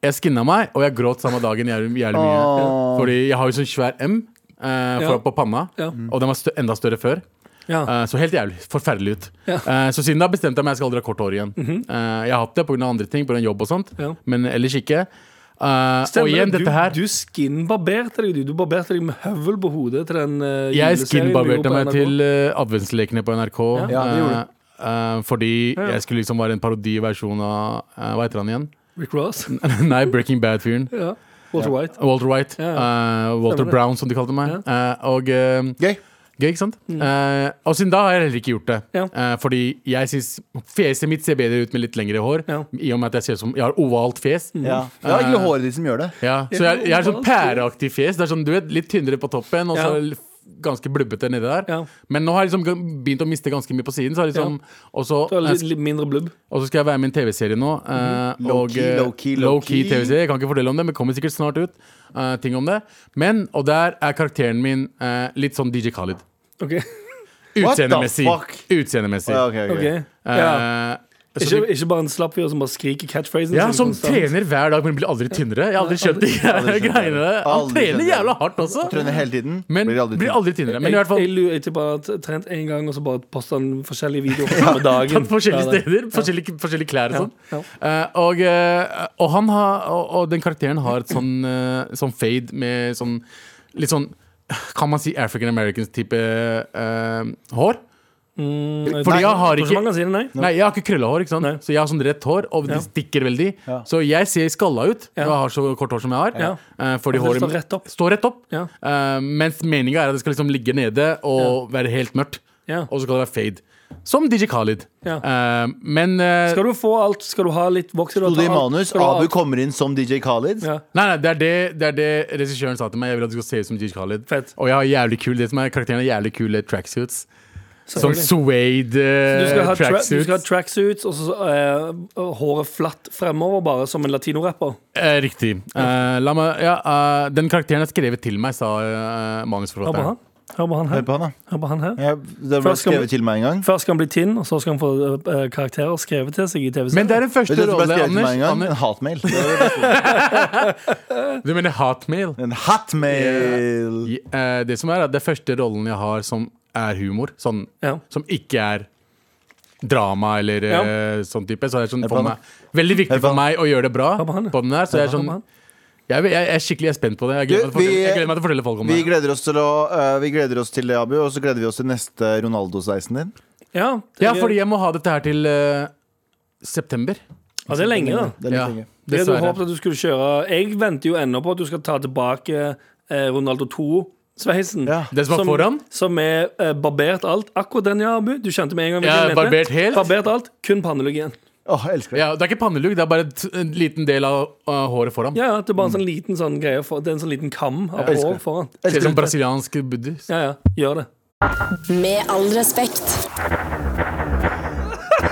Speaker 2: Jeg skinna meg, og jeg gråt samme dagen jævlig, jævlig mye. Fordi jeg har jo sånn svær M eh, for,
Speaker 3: Ja.
Speaker 2: på panna,
Speaker 3: Ja.
Speaker 2: og den var stø enda større før.
Speaker 3: Ja.
Speaker 2: Eh, Så helt jævlig. Forferdelig ut.
Speaker 3: Ja. Mhm.
Speaker 2: Eh, Så siden da bestemte jeg meg jeg skal aldri ha kort hår igjen. Eh, Jeg har hatt det pga. andre ting, på grunn av jobb og sånt,
Speaker 3: Ja.
Speaker 2: men ellers ikke. Eh, og
Speaker 3: Stemmer
Speaker 2: igjen,
Speaker 3: det.
Speaker 2: dette her
Speaker 3: Du, du skinbarberte deg, du. Du barberte deg med høvel på hodet til den eh,
Speaker 2: Jeg
Speaker 3: juleserien du gjorde
Speaker 2: skinbarberte
Speaker 3: på
Speaker 2: meg
Speaker 3: NRK.
Speaker 2: til eh, adventslekene på NRK.
Speaker 4: Ja, det gjorde
Speaker 2: eh, eh, fordi jeg skulle liksom være en parodiversjon av eh, Hva heter han igjen?
Speaker 3: Rick Ross.
Speaker 2: Nei, Breaking Bad-fyren.
Speaker 3: Ja. Walter White.
Speaker 2: Walter White.
Speaker 3: Ja,
Speaker 2: eh, Walter
Speaker 3: Stemmer det.
Speaker 2: Brown, som de kalte meg. Eh, og eh,
Speaker 4: Gøy.
Speaker 2: gøy, ikke sant? Eh, og siden da har jeg heller ikke gjort det.
Speaker 3: Mm. Ja.
Speaker 2: Eh, fordi jeg syns fjeset mitt ser bedre ut med litt lengre hår.
Speaker 3: Ja. Mm.
Speaker 2: I og med at jeg ser ut som Jeg har ovalt fjes.
Speaker 4: Ja. Det er egentlig håret ditt som gjør det.
Speaker 2: Ja, så jeg, jeg er sånn pæreaktig fjes. Det er sånn, du vet, Litt tynnere på toppen og så
Speaker 3: Ja.
Speaker 2: l- ganske blubbete nedi der.
Speaker 3: Ja.
Speaker 2: Men nå har jeg liksom g- begynt å miste ganske mye på siden. Så har jeg liksom, og, så,
Speaker 3: Du har litt, Mhm. litt mindre blubb.
Speaker 2: og så skal jeg være med i en TV-serie nå. eh, og,
Speaker 4: Low-key,
Speaker 2: eh,
Speaker 4: low-key,
Speaker 2: low-key
Speaker 4: low-key.
Speaker 2: TV-serie. Jeg kan ikke fortelle om det, men kommer sikkert snart ut. eh, ting om det Men, Og der er karakteren min eh, litt sånn DJ Khalid.
Speaker 3: OK.
Speaker 4: What the
Speaker 2: Utseendemessig.
Speaker 4: fuck?
Speaker 2: Utseendemessig.
Speaker 4: Ja, ok, ok.
Speaker 3: ok Ja.
Speaker 2: Eh, så
Speaker 3: Ikke,
Speaker 2: du-
Speaker 3: ikke bare en slapp fyr som bare skriker catchphrasen
Speaker 2: Ja,
Speaker 3: sin liksom.
Speaker 2: som
Speaker 3: konstant.
Speaker 2: trener hver dag, men blir aldri tynnere. Jeg har aldri skjønt de greiene der. Han
Speaker 4: Aldri skjønt
Speaker 2: trener
Speaker 4: det.
Speaker 2: jævla hardt også.
Speaker 4: Trener hele tiden.
Speaker 2: Men blir aldri, tynnere. Men i hvert fall
Speaker 3: Jeg, jeg, lurer- jeg tipper han har trent én gang, og så bare posta han forskjellige videoer på samme dagen.
Speaker 2: på forskjellige
Speaker 3: Ja, det.
Speaker 2: steder. Forskjellige, forskjellige klær og sånn.
Speaker 3: Ja,
Speaker 2: Eh, og, eh, og, han har, og, og den karakteren har et sånn, eh, sånn fade med sånn litt sånn Kan man si African Americans-type eh, hår?
Speaker 3: Mm,
Speaker 2: Fordi jeg har ikke
Speaker 3: Jeg tror ikke man kan si det, nei.
Speaker 2: Nei, jeg har ikke krøllehår, ikke sant?
Speaker 3: Nei.
Speaker 2: så jeg har sånn rett hår, og det
Speaker 3: Ja.
Speaker 2: stikker veldig.
Speaker 4: Ja.
Speaker 2: Så jeg ser skalla ut,
Speaker 3: Ja.
Speaker 2: og jeg har så kort hår som jeg har.
Speaker 3: Ja.
Speaker 2: eh, fordi
Speaker 3: Og det
Speaker 2: håret
Speaker 3: står rett opp.
Speaker 2: står rett opp.
Speaker 3: Ja.
Speaker 2: Eh, mens meninga er at det skal liksom ligge nede og være helt mørkt.
Speaker 3: Ja.
Speaker 2: Og så skal det være fade. Som DJ Khalid.
Speaker 3: Ja.
Speaker 2: Eh, men eh,
Speaker 3: Skal du få alt? Skal du ha litt voks? Skal du
Speaker 4: Sto det i
Speaker 3: ta alt?
Speaker 4: manus?
Speaker 3: Skal du ha
Speaker 4: Abu
Speaker 3: alt?
Speaker 4: kommer inn som DJ Khalid.
Speaker 3: Ja.
Speaker 2: Nei, nei, det er det, det er det regissøren sa til meg. Jeg vil at du skal se ut som DJ Khalid.
Speaker 3: Fett.
Speaker 2: Og jeg har jævlig kul, det som er karakteren har jævlig kule tracksuits. Som
Speaker 3: Selvfølgelig.
Speaker 2: suede
Speaker 3: Du skal ha
Speaker 2: eh,
Speaker 3: tra- du skal ha
Speaker 2: tracksuits.
Speaker 3: tracksuits og så eh, håret flatt fremover, bare som en latinor-rapper
Speaker 2: Eh, riktig. Eh, la meg, ja, eh, den karakteren er skrevet til meg, sa eh,
Speaker 3: Hør på
Speaker 2: manusforfatteren.
Speaker 3: han. Hør på han
Speaker 4: Hør
Speaker 3: her.
Speaker 4: på han, da.
Speaker 3: Hør på han her.
Speaker 4: Jeg, det ble
Speaker 3: Først skal vi-
Speaker 4: skrevet til meg en gang.
Speaker 3: Først skal han bli tynn, og så skal han få eh, karakterer skrevet til seg i
Speaker 2: Men det
Speaker 3: TV-serien.
Speaker 2: er den første
Speaker 4: Vet du hva
Speaker 2: rolle,
Speaker 4: som ble skrevet til
Speaker 2: Anders.
Speaker 4: meg en gang? En
Speaker 2: Anders.
Speaker 4: hatmail.
Speaker 2: Du mener hatmail?
Speaker 4: En hatmail!
Speaker 2: I- eh, Det som er, at det er første rollen jeg har som er humor. Sånn,
Speaker 3: Ja.
Speaker 2: Som ikke er drama eller eh, sånn type. Så det er sånn
Speaker 4: Er det
Speaker 2: for
Speaker 4: bra,
Speaker 2: meg, veldig viktig
Speaker 4: det bra?
Speaker 2: for meg å gjøre det bra
Speaker 3: Ja, på han, ja.
Speaker 2: på den her. Så jeg er sånn
Speaker 3: Ja, på han.
Speaker 2: jeg, jeg, jeg er skikkelig spent på det. Jeg
Speaker 4: Du,
Speaker 2: gleder, meg, til å
Speaker 4: vi-
Speaker 2: fortelle, jeg gleder meg til å fortelle folk om
Speaker 4: Vi
Speaker 2: det.
Speaker 4: gleder oss til å eh, Vi gleder oss til det, Abu, og så gleder vi oss til neste Ronaldo-sveisen din.
Speaker 3: Ja, det,
Speaker 2: Ja, fordi jeg må ha dette her til eh, september.
Speaker 3: ja, det er lenge, da.
Speaker 4: Det er litt
Speaker 2: Ja,
Speaker 4: lenge.
Speaker 3: Det du
Speaker 2: dessverre.
Speaker 3: håpet at du skulle kjøre Jeg venter jo ennå på at du skal ta tilbake eh, Ronaldo 2-sveisen.
Speaker 4: Ja.
Speaker 2: Det som var foran?
Speaker 3: Som er eh, barbert alt. Akkurat den, ja, Abu. Du kjente med en gang hvilken
Speaker 2: Ja,
Speaker 3: jeg mente.
Speaker 2: barbert helt.
Speaker 3: Barbert alt, kun pannelugg igjen.
Speaker 4: Åh, jeg elsker det.
Speaker 2: Ja, det er ikke pannelugg, det er bare et- en liten del av av håret foran.
Speaker 3: Ja, ja, det er bare en sånn liten sånn greie for, Det er en sånn liten kam av
Speaker 4: Mm. elsker
Speaker 3: hår
Speaker 4: det.
Speaker 3: foran.
Speaker 2: Ser ut som brasiliansk buddhist.
Speaker 3: Ja, ja, gjør det.
Speaker 5: Med all respekt.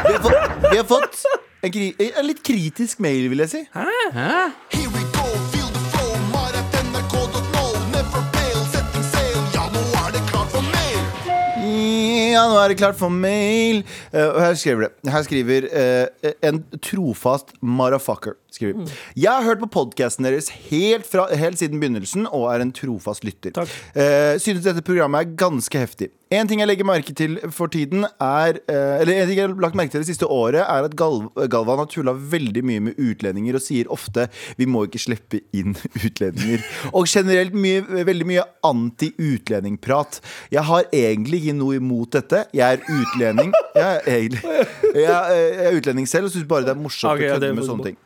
Speaker 4: Vi har fått, vi har fått en, kri en litt kritisk mail, vil jeg si.
Speaker 2: Hæ?
Speaker 7: Here we go, feel the flow, mar at nrk.no. Never fail, setting sail, ja nå er det klart for mer.
Speaker 4: Ja, nå er det klart for mail. Eh, og her skriver det. Her skriver eh, en trofast marafucker.
Speaker 2: Mm.
Speaker 4: Skriver. Jeg har hørt på podkasten deres helt, fra, helt siden begynnelsen og er en trofast lytter.
Speaker 3: Takk.
Speaker 4: Eh, synes dette programmet er ganske heftig. En ting jeg legger merke til for tiden er eh, Eller en ting jeg har lagt merke til det siste året, er at Gal Galvan har tulla veldig mye med utlendinger og sier ofte 'vi må ikke slippe inn utlendinger'. Og generelt mye, veldig mye anti-utlendingprat. Jeg har egentlig ikke noe imot dette. Jeg er utlending. Jeg er, egentlig, jeg, er- eh, jeg er utlending selv og syns bare det er morsomt
Speaker 3: Ok, ja,
Speaker 4: å
Speaker 3: det
Speaker 4: kødde med
Speaker 3: er
Speaker 4: sånne
Speaker 3: bra.
Speaker 4: ting.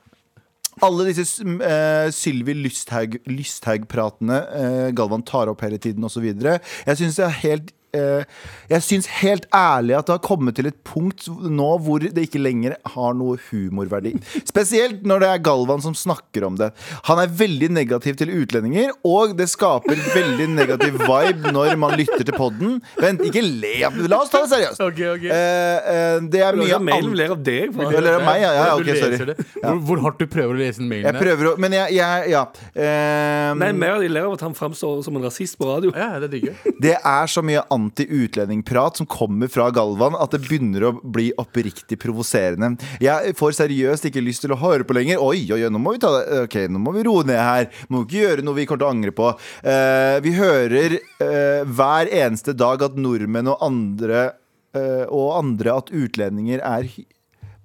Speaker 4: Alle disse sm- eh, Sylvi Lysthaug- Lysthaug-pratene eh, Galvan tar opp hele tiden osv. Jeg syns det er helt eh, jeg syns helt ærlig at det har kommet til et punkt nå hvor det ikke lenger har noe humorverdi. Spesielt når det er Galvan som snakker om det. Han er veldig negativ til utlendinger, og det skaper veldig negativ vibe når man lytter til podden. Vent, ikke le! La oss ta det seriøst.
Speaker 2: Ok, ok.
Speaker 4: Eh, eh, det er
Speaker 3: Du
Speaker 4: mye
Speaker 3: har mailen
Speaker 4: an-
Speaker 3: ler av deg. for-
Speaker 4: Eller er det meg? Ja, ja,
Speaker 2: Hvordan
Speaker 4: ok,
Speaker 2: du leser
Speaker 4: sorry.
Speaker 2: det. Hvor, hvor hardt du prøver å lese den mailen
Speaker 4: Jeg
Speaker 2: der.
Speaker 4: prøver å Men jeg, jeg ja. Ehm,
Speaker 3: Nei, mer de ler av at han framstår som en rasist på radio.
Speaker 2: Ja, det digger jeg.
Speaker 4: det er så mye anti-utlendingprat som kommer fra Galvan at det begynner å bli oppriktig provoserende. Jeg får seriøst ikke lyst til å høre på lenger. Oi, oi, oi, nå må vi ta det Ok, nå må vi roe ned her. Må ikke gjøre noe vi kommer til å angre på. Eh, vi hører eh, hver eneste dag at nordmenn og andre eh, Og andre at utlendinger er hy-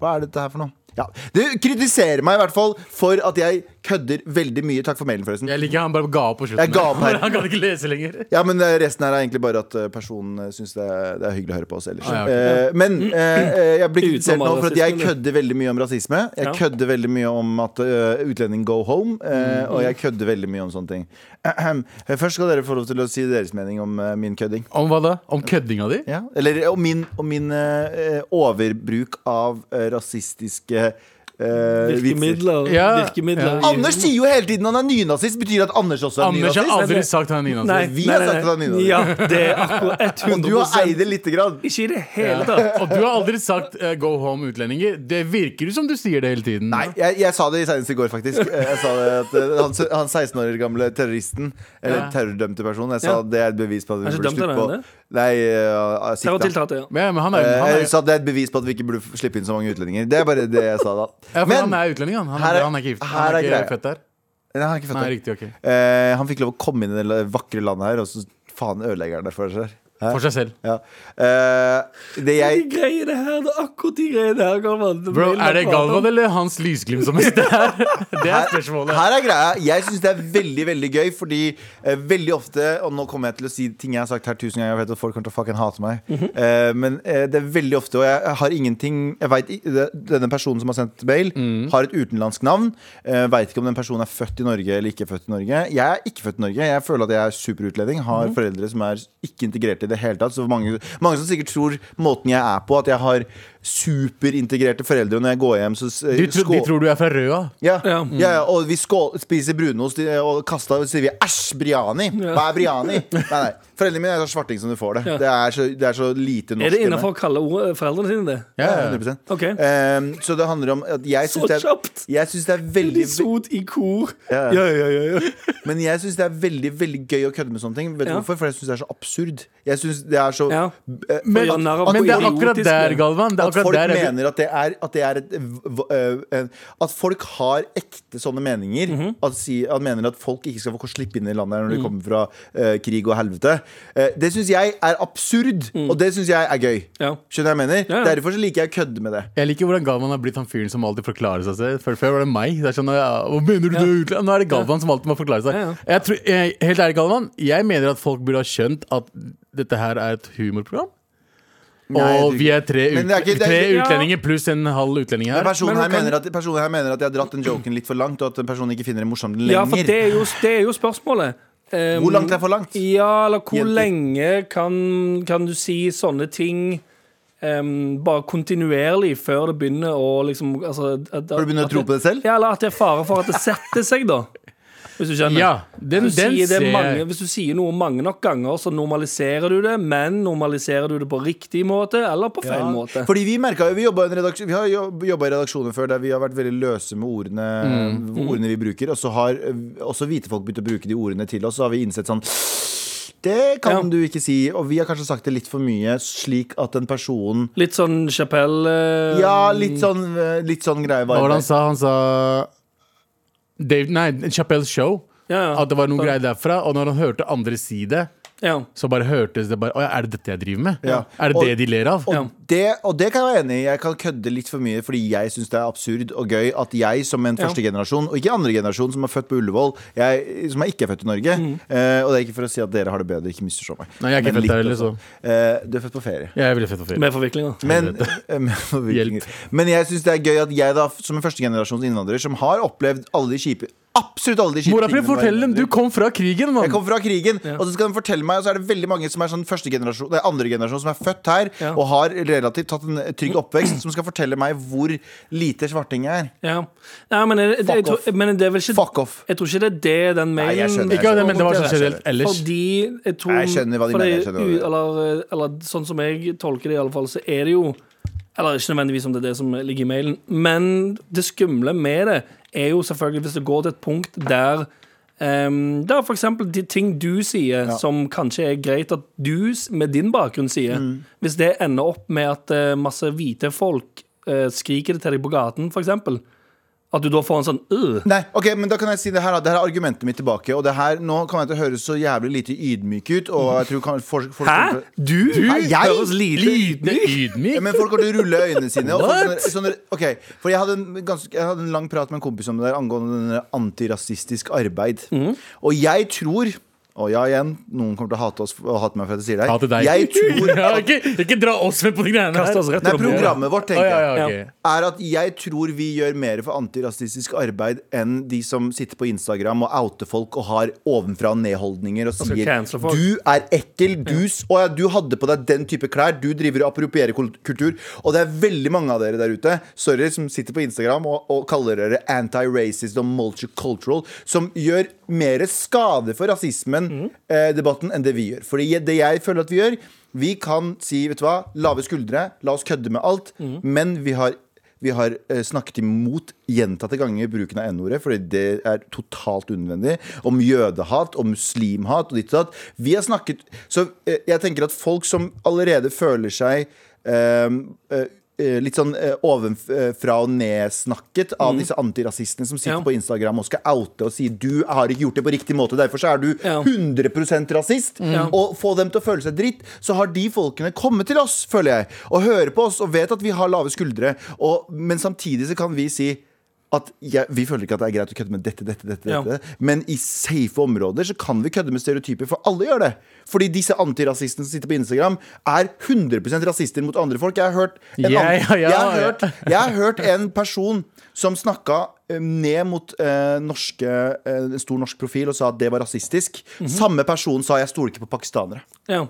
Speaker 4: Hva er dette her for noe? Ja. Du kritiserer meg i hvert fall for at jeg kødder veldig mye. Takk for mailen, forresten.
Speaker 2: Jeg liker han bare ga opp på slutten.
Speaker 4: Jeg ga opp her.
Speaker 2: Han kan ikke lese lenger.
Speaker 4: Ja, men eh, resten her er egentlig bare at eh, personen eh, syns det, er- det er hyggelig å høre på oss ellers.
Speaker 2: Ah, ja, ok.
Speaker 4: Eh, men eh, eh, jeg blir
Speaker 3: Utenom
Speaker 4: kritisert nå
Speaker 3: all
Speaker 4: for at jeg
Speaker 3: rasismen,
Speaker 4: kødder veldig mye om rasisme. Jeg
Speaker 3: Ja.
Speaker 4: kødder veldig mye om at eh, utlending go home. eh,
Speaker 2: Mm,
Speaker 4: og jeg kødder veldig mye om sånne ting. Ahem. Eh, Først skal dere få lov til å si deres mening om eh, min kødding.
Speaker 2: Om hva da? Om køddinga di?
Speaker 4: Ja. Eller om min, om min eh, eh, overbruk av eh, rasistiske eh, vitser.
Speaker 3: Virkemidler.
Speaker 2: Ja.
Speaker 3: Virkemidler.
Speaker 2: Ja.
Speaker 4: Anders sier jo hele tiden han er nynazist. Betyr det at Anders også er
Speaker 2: Anders har
Speaker 4: nynazist?
Speaker 2: aldri sagt han er nynazist.
Speaker 3: Nei,
Speaker 4: Vi
Speaker 3: nei,
Speaker 4: har
Speaker 3: nei,
Speaker 4: sagt
Speaker 3: nei.
Speaker 4: at det er nynazist.
Speaker 3: Ja, det er akkurat 100
Speaker 4: Og du har eid det lite grann.
Speaker 3: Ikke i det hele tatt.
Speaker 2: Og du har aldri sagt eh, 'go home, utlendinger'. Det virker jo som du sier det hele tiden.
Speaker 4: Nei, jeg, jeg sa det senest i går, faktisk. Eh, Jeg sa det at eh, Han, s- han 16 år gamle terroristen, eller
Speaker 2: Ja.
Speaker 4: terrordømte personen, jeg sa
Speaker 3: Ja.
Speaker 4: det er et bevis på at
Speaker 3: Er
Speaker 4: vi
Speaker 3: ikke
Speaker 4: burde
Speaker 3: dømt
Speaker 4: slippe
Speaker 3: ennå,
Speaker 4: på
Speaker 3: det?
Speaker 4: Nei, eh, sikta.
Speaker 3: Terrortiltalte, ja.
Speaker 2: Men, men han er,
Speaker 4: Eh,
Speaker 2: han er,
Speaker 4: Jeg sa det er et bevis på at vi ikke burde f- slippe inn så mange utlendinger. Det er bare det jeg sa da.
Speaker 2: ja, for
Speaker 4: Men
Speaker 2: han er utlending, han. Han
Speaker 4: her
Speaker 2: er,
Speaker 4: er-
Speaker 2: han er ikke gift.
Speaker 4: her
Speaker 2: Han
Speaker 4: er
Speaker 2: er ikke
Speaker 4: greia.
Speaker 2: født der.
Speaker 4: Nei, han, er ikke født
Speaker 2: Nei,
Speaker 4: her.
Speaker 2: riktig, ok
Speaker 4: Eh, han fikk lov å komme inn i det vakre landet her, og så faen ødelegger han det for seg. Hæ?
Speaker 2: For seg selv.
Speaker 4: Ja. Eh, det
Speaker 3: De
Speaker 4: jeg
Speaker 3: greiene her, det er akkurat de greiene her. Galvan.
Speaker 2: Bro, Er det Galvan
Speaker 3: det?
Speaker 2: eller Hans Lysglimt som sitter her? Det er spørsmålet.
Speaker 4: Her er greia. Jeg syns det er veldig veldig gøy, fordi eh, veldig ofte Og nå kommer jeg til å si ting jeg har sagt her tusen ganger, jeg vet at folk kommer til å fucking hate meg.
Speaker 2: Mhm.
Speaker 4: Eh, men eh, det er veldig ofte, og jeg har ingenting Jeg vet, i- det- Denne personen som har sendt mail,
Speaker 2: Mhm.
Speaker 4: har et utenlandsk navn. Uh, Veit ikke om den personen er født i Norge eller ikke født i Norge. Jeg er ikke født i Norge. Jeg føler at jeg er superutlending. Har
Speaker 2: Mhm.
Speaker 4: foreldre som er ikke integrert i det hele tatt. Så mange, mange som sikkert tror måten jeg er på, at jeg har superintegrerte foreldre. Og når jeg går hjem, så s-
Speaker 2: De, tro, de
Speaker 4: skå-
Speaker 2: tror du er fra Røa.
Speaker 4: ja, ja.
Speaker 3: Ja.
Speaker 4: ja, og vi skål, spiser brunost i- og kaster og så sier vi 'æsj, Briani'. Hva er Briani? Nei, nei. Foreldrene mine er så svarting som du får det. Det, er så, det er så lite norsk.
Speaker 3: Er det
Speaker 4: i meg.
Speaker 3: innenfor å kalle ord- foreldrene sine det?
Speaker 2: Ja,
Speaker 4: Ja,
Speaker 2: ja.
Speaker 4: 100%.
Speaker 3: Ok.
Speaker 4: Ehm, så det handler om at jeg
Speaker 3: Så
Speaker 4: syns det,
Speaker 3: kjapt.
Speaker 4: er- jeg synes det er veldig
Speaker 3: Elisot i kor.
Speaker 4: Ja, ja.
Speaker 3: Ja, ja, ja. ja.
Speaker 4: Men jeg syns det er veldig veldig gøy å kødde med sånne ting. Vet du
Speaker 3: Ja.
Speaker 4: hvorfor? For jeg syns det er så absurd. Jeg synes det er så
Speaker 3: Ja.
Speaker 4: eh,
Speaker 2: Men,
Speaker 3: gjøre narr av
Speaker 2: men det er
Speaker 3: hvor
Speaker 2: akkurat
Speaker 3: idiotisk
Speaker 2: der,
Speaker 3: det er.
Speaker 2: Galvan. Det er
Speaker 4: At
Speaker 2: akkurat
Speaker 4: folk
Speaker 2: der jeg vil-
Speaker 4: mener at det er, at det er et, v- øh, en- At folk har ekte sånne meninger. at, si, at mener at folk ikke skal få slippe inn i landet her når de kommer fra øh, krig og helvete. Eh, det syns jeg er absurd, og det syns jeg er gøy.
Speaker 3: Ja.
Speaker 4: Skjønner du hva jeg mener?
Speaker 3: Ja, ja.
Speaker 4: Derfor så liker jeg å kødde med det.
Speaker 2: Jeg liker hvordan Galvan har blitt han fyren som alltid forklarer seg selv. Før, før var det meg. Det er sånn, ja, hva mener du du er utland? Nå er det Galvan som alltid må forklare seg.
Speaker 3: Ja, ja.
Speaker 2: Jeg tror, jeg, helt ærlig, Galvan, jeg mener at folk burde ha skjønt at dette her er et humorprogram.
Speaker 4: jeg tror
Speaker 2: og vi er tre,
Speaker 4: Men
Speaker 2: ut,
Speaker 4: det er ikke- det er
Speaker 2: tre
Speaker 4: ikke-
Speaker 3: Ja.
Speaker 2: utlendinger pluss en halv utlending her.
Speaker 4: Personen,
Speaker 3: Men
Speaker 4: her
Speaker 3: man kan-
Speaker 4: mener at, personen her mener at jeg har dratt den joken litt for langt, og at den personen ikke finner det morsomt lenger.
Speaker 3: ja, for det er jo, det er jo spørsmålet. Um,
Speaker 4: Hvor langt er for langt?
Speaker 3: Ja, eller hvor
Speaker 4: Jenter.
Speaker 3: lenge kan, kan du si sånne ting em, bare kontinuerlig før det begynner å liksom altså, at, at,
Speaker 4: Før du begynner å
Speaker 3: at
Speaker 4: tro på det selv?
Speaker 3: Ja, eller at det er fare for at det setter seg, da. Hvis du skjønner.
Speaker 2: Ja, den,
Speaker 3: Hvis du,
Speaker 2: den
Speaker 3: sier
Speaker 2: ser jeg.
Speaker 3: det mange, hvis du sier noe mange nok ganger, så normaliserer du det. Men normaliserer du det på riktig måte eller på feil måte?
Speaker 4: Fordi vi merket jo, vi jobbet i en redaksjon Vi har jobb- jobbet i redaksjoner før Der vi har vært veldig løse med ordene
Speaker 2: Mm.
Speaker 4: Ordene vi bruker Og så har eh, også hvite folk begynt å bruke de ordene til oss Så har vi innsett sånn Det kan
Speaker 3: Ja.
Speaker 4: du ikke si Og vi har kanskje sagt det litt for mye Slik at den personen
Speaker 3: Litt sånn Chapelle eh,
Speaker 4: Ja, litt sånn, eh, litt sånn greie
Speaker 2: Hva var det
Speaker 4: vibe.
Speaker 2: han sa? Han sa Dave, Nei, Chappelle's Show.
Speaker 3: Ja, ja.
Speaker 2: At det var noe
Speaker 3: Så-
Speaker 2: greier derfra. Og når han hørte andre si det,
Speaker 3: ja.
Speaker 2: så bare hørtes det bare Å ja, er det dette jeg driver med?
Speaker 4: Ja.
Speaker 2: Er det
Speaker 4: Og-
Speaker 2: det de ler av?
Speaker 4: Og,
Speaker 3: Ja.
Speaker 4: det, og det kan jeg være enig i. Jeg kan kødde litt for mye fordi jeg syns det er absurd og gøy at jeg som en
Speaker 3: Ja.
Speaker 4: første generasjon, og ikke andre generasjon som er født på Ullevål, jeg, som er ikke er født i Norge eh, Og det er ikke for å si at dere har det bedre, ikke misforstå meg.
Speaker 2: Mm. Nei, jeg er ikke
Speaker 4: Men
Speaker 2: født der
Speaker 4: litt
Speaker 2: heller,
Speaker 4: også. Eh, du er født på ferie.
Speaker 2: Jeg er veldig fett og fyr.
Speaker 3: Med forviklinger.
Speaker 4: Men, men-
Speaker 2: Hjelp.
Speaker 4: men jeg syns det er gøy at jeg, da som en førstegenerasjons innvandrer, som har opplevd alle de kjipe Absolutt alle de kjipe
Speaker 2: Mora mi,
Speaker 4: tingene med å være
Speaker 2: fortell dem!
Speaker 4: innvandrer.
Speaker 2: Du kom fra krigen, mann!
Speaker 4: Jeg kom fra krigen, og så skal de fortelle meg Og så er det veldig mange som er sånn første generasjon Det er andre generasjon som er født her
Speaker 3: Ja.
Speaker 4: Og har relativt tatt en trygg oppvekst Som skal fortelle meg hvor lite svarting jeg er
Speaker 3: Ja. Nei, men, jeg, jeg,
Speaker 4: Fuck
Speaker 3: jeg, tror-
Speaker 4: off.
Speaker 3: men det er vel ikke
Speaker 4: Fuck off
Speaker 3: Jeg tror ikke det er det den
Speaker 4: Nei, jeg
Speaker 3: mailen
Speaker 4: skjønner, jeg
Speaker 2: Ikke av det, men det var
Speaker 4: Jeg
Speaker 2: sånn
Speaker 4: skjønner.
Speaker 2: generelt ellers.
Speaker 3: Fordi jeg tror
Speaker 4: Nei, jeg skjønner hva de
Speaker 3: fordi,
Speaker 4: mener, jeg skjønner hva de mener.
Speaker 3: u- Eller, eller sånn som jeg tolker det, i alle fall, så er det jo Eller ikke nødvendigvis om det er det som ligger i mailen, men det skumle med det er jo selvfølgelig hvis det går til et punkt der um, Der for eksempel de ting du sier, som kanskje er greit at du s- med din bakgrunn sier.
Speaker 4: Mm.
Speaker 3: Hvis det ender opp med at eh, masse hvite folk eh, skriker det til deg på gaten, for eksempel At du da får en sånn øh.
Speaker 4: Nei, ok, men da kan jeg si det her da. Det her er argumentet mitt tilbake Og det her, nå kan jeg til å høre så jævlig lite ydmyk ut Og jeg tror kan, folk, folk
Speaker 3: Hæ? Du?
Speaker 4: Hæ, jeg?
Speaker 3: høres lite ydmyk
Speaker 4: Ja,
Speaker 2: Ydmyk?
Speaker 4: men folk kommer til å rulle øynene sine. Og folk,
Speaker 2: What?
Speaker 4: sånne, sånne, ok, for jeg hadde, en ganske, jeg hadde en lang prat med en kompis om det der angående denne antirasistisk arbeid.
Speaker 2: Mhm.
Speaker 4: Og jeg tror og ja, igjen, noen kommer til å hate, oss, og hate meg for at jeg sier det. her.
Speaker 2: Ta til deg.
Speaker 4: Jeg tror
Speaker 2: ja, ikke, ikke dra oss med på de greiene her.
Speaker 3: Kast oss rett
Speaker 4: Nei,
Speaker 3: under bordet.
Speaker 4: programmet
Speaker 2: Å,
Speaker 4: vårt, tenker
Speaker 2: ja,
Speaker 4: jeg.
Speaker 2: ja, ok.
Speaker 4: Er at jeg tror vi gjør mer for antirasistisk arbeid enn de som sitter på Instagram og outer folk og har ovenfra og ned-holdninger og
Speaker 3: skal
Speaker 4: sier
Speaker 3: cancele folk.
Speaker 4: du er ekkel, du, s- å ja, du hadde på deg den type klær, du driver og approprierer kul- kultur. Og det er veldig mange av dere der ute sorry, som sitter på Instagram og, og kaller dere anti-racist og multicultural, som gjør mer skade for
Speaker 3: Mm.
Speaker 4: rasismen-debatten enn det vi gjør. Fordi jeg- det jeg føler at vi gjør vi kan si, vet du hva, lave skuldre, la oss kødde med alt,
Speaker 3: Mm.
Speaker 4: men vi har, vi har eh, snakket imot gjentatte ganger bruken av N-ordet, fordi det er totalt unødvendig. Om jødehat, om muslimhat og ditt og datt. Vi har snakket Så eh, jeg tenker at folk som allerede føler seg eh, eh, eh, Litt sånn eh, ovenfra og ned-snakket av disse antirasistene som sitter
Speaker 3: Ja.
Speaker 4: på Instagram og skal oute og si 'du har ikke gjort det på riktig måte', derfor så er du
Speaker 3: Ja. Mm.
Speaker 4: 100 rasist, og få dem til å føle seg dritt, så har de folkene kommet til oss, føler jeg, og hører på oss og vet at vi har lave skuldre, og, men samtidig så kan vi si at jeg, Vi føler ikke at det er greit å kødde med dette, dette, dette,
Speaker 3: Ja.
Speaker 4: dette. Men i safe områder så kan vi kødde med stereotyper, for alle gjør det. Fordi disse antirasistene som sitter på Instagram, er 100 rasister mot andre folk. Jeg har hørt en,
Speaker 2: Ja,
Speaker 4: an-
Speaker 2: ja, ja.
Speaker 4: Jeg har hørt jeg har hørt en person som snakka eh, ned mot eh, norske, eh, en stor norsk profil og sa at det var rasistisk. Samme person sa 'jeg stoler ikke på pakistanere'.
Speaker 3: Ja.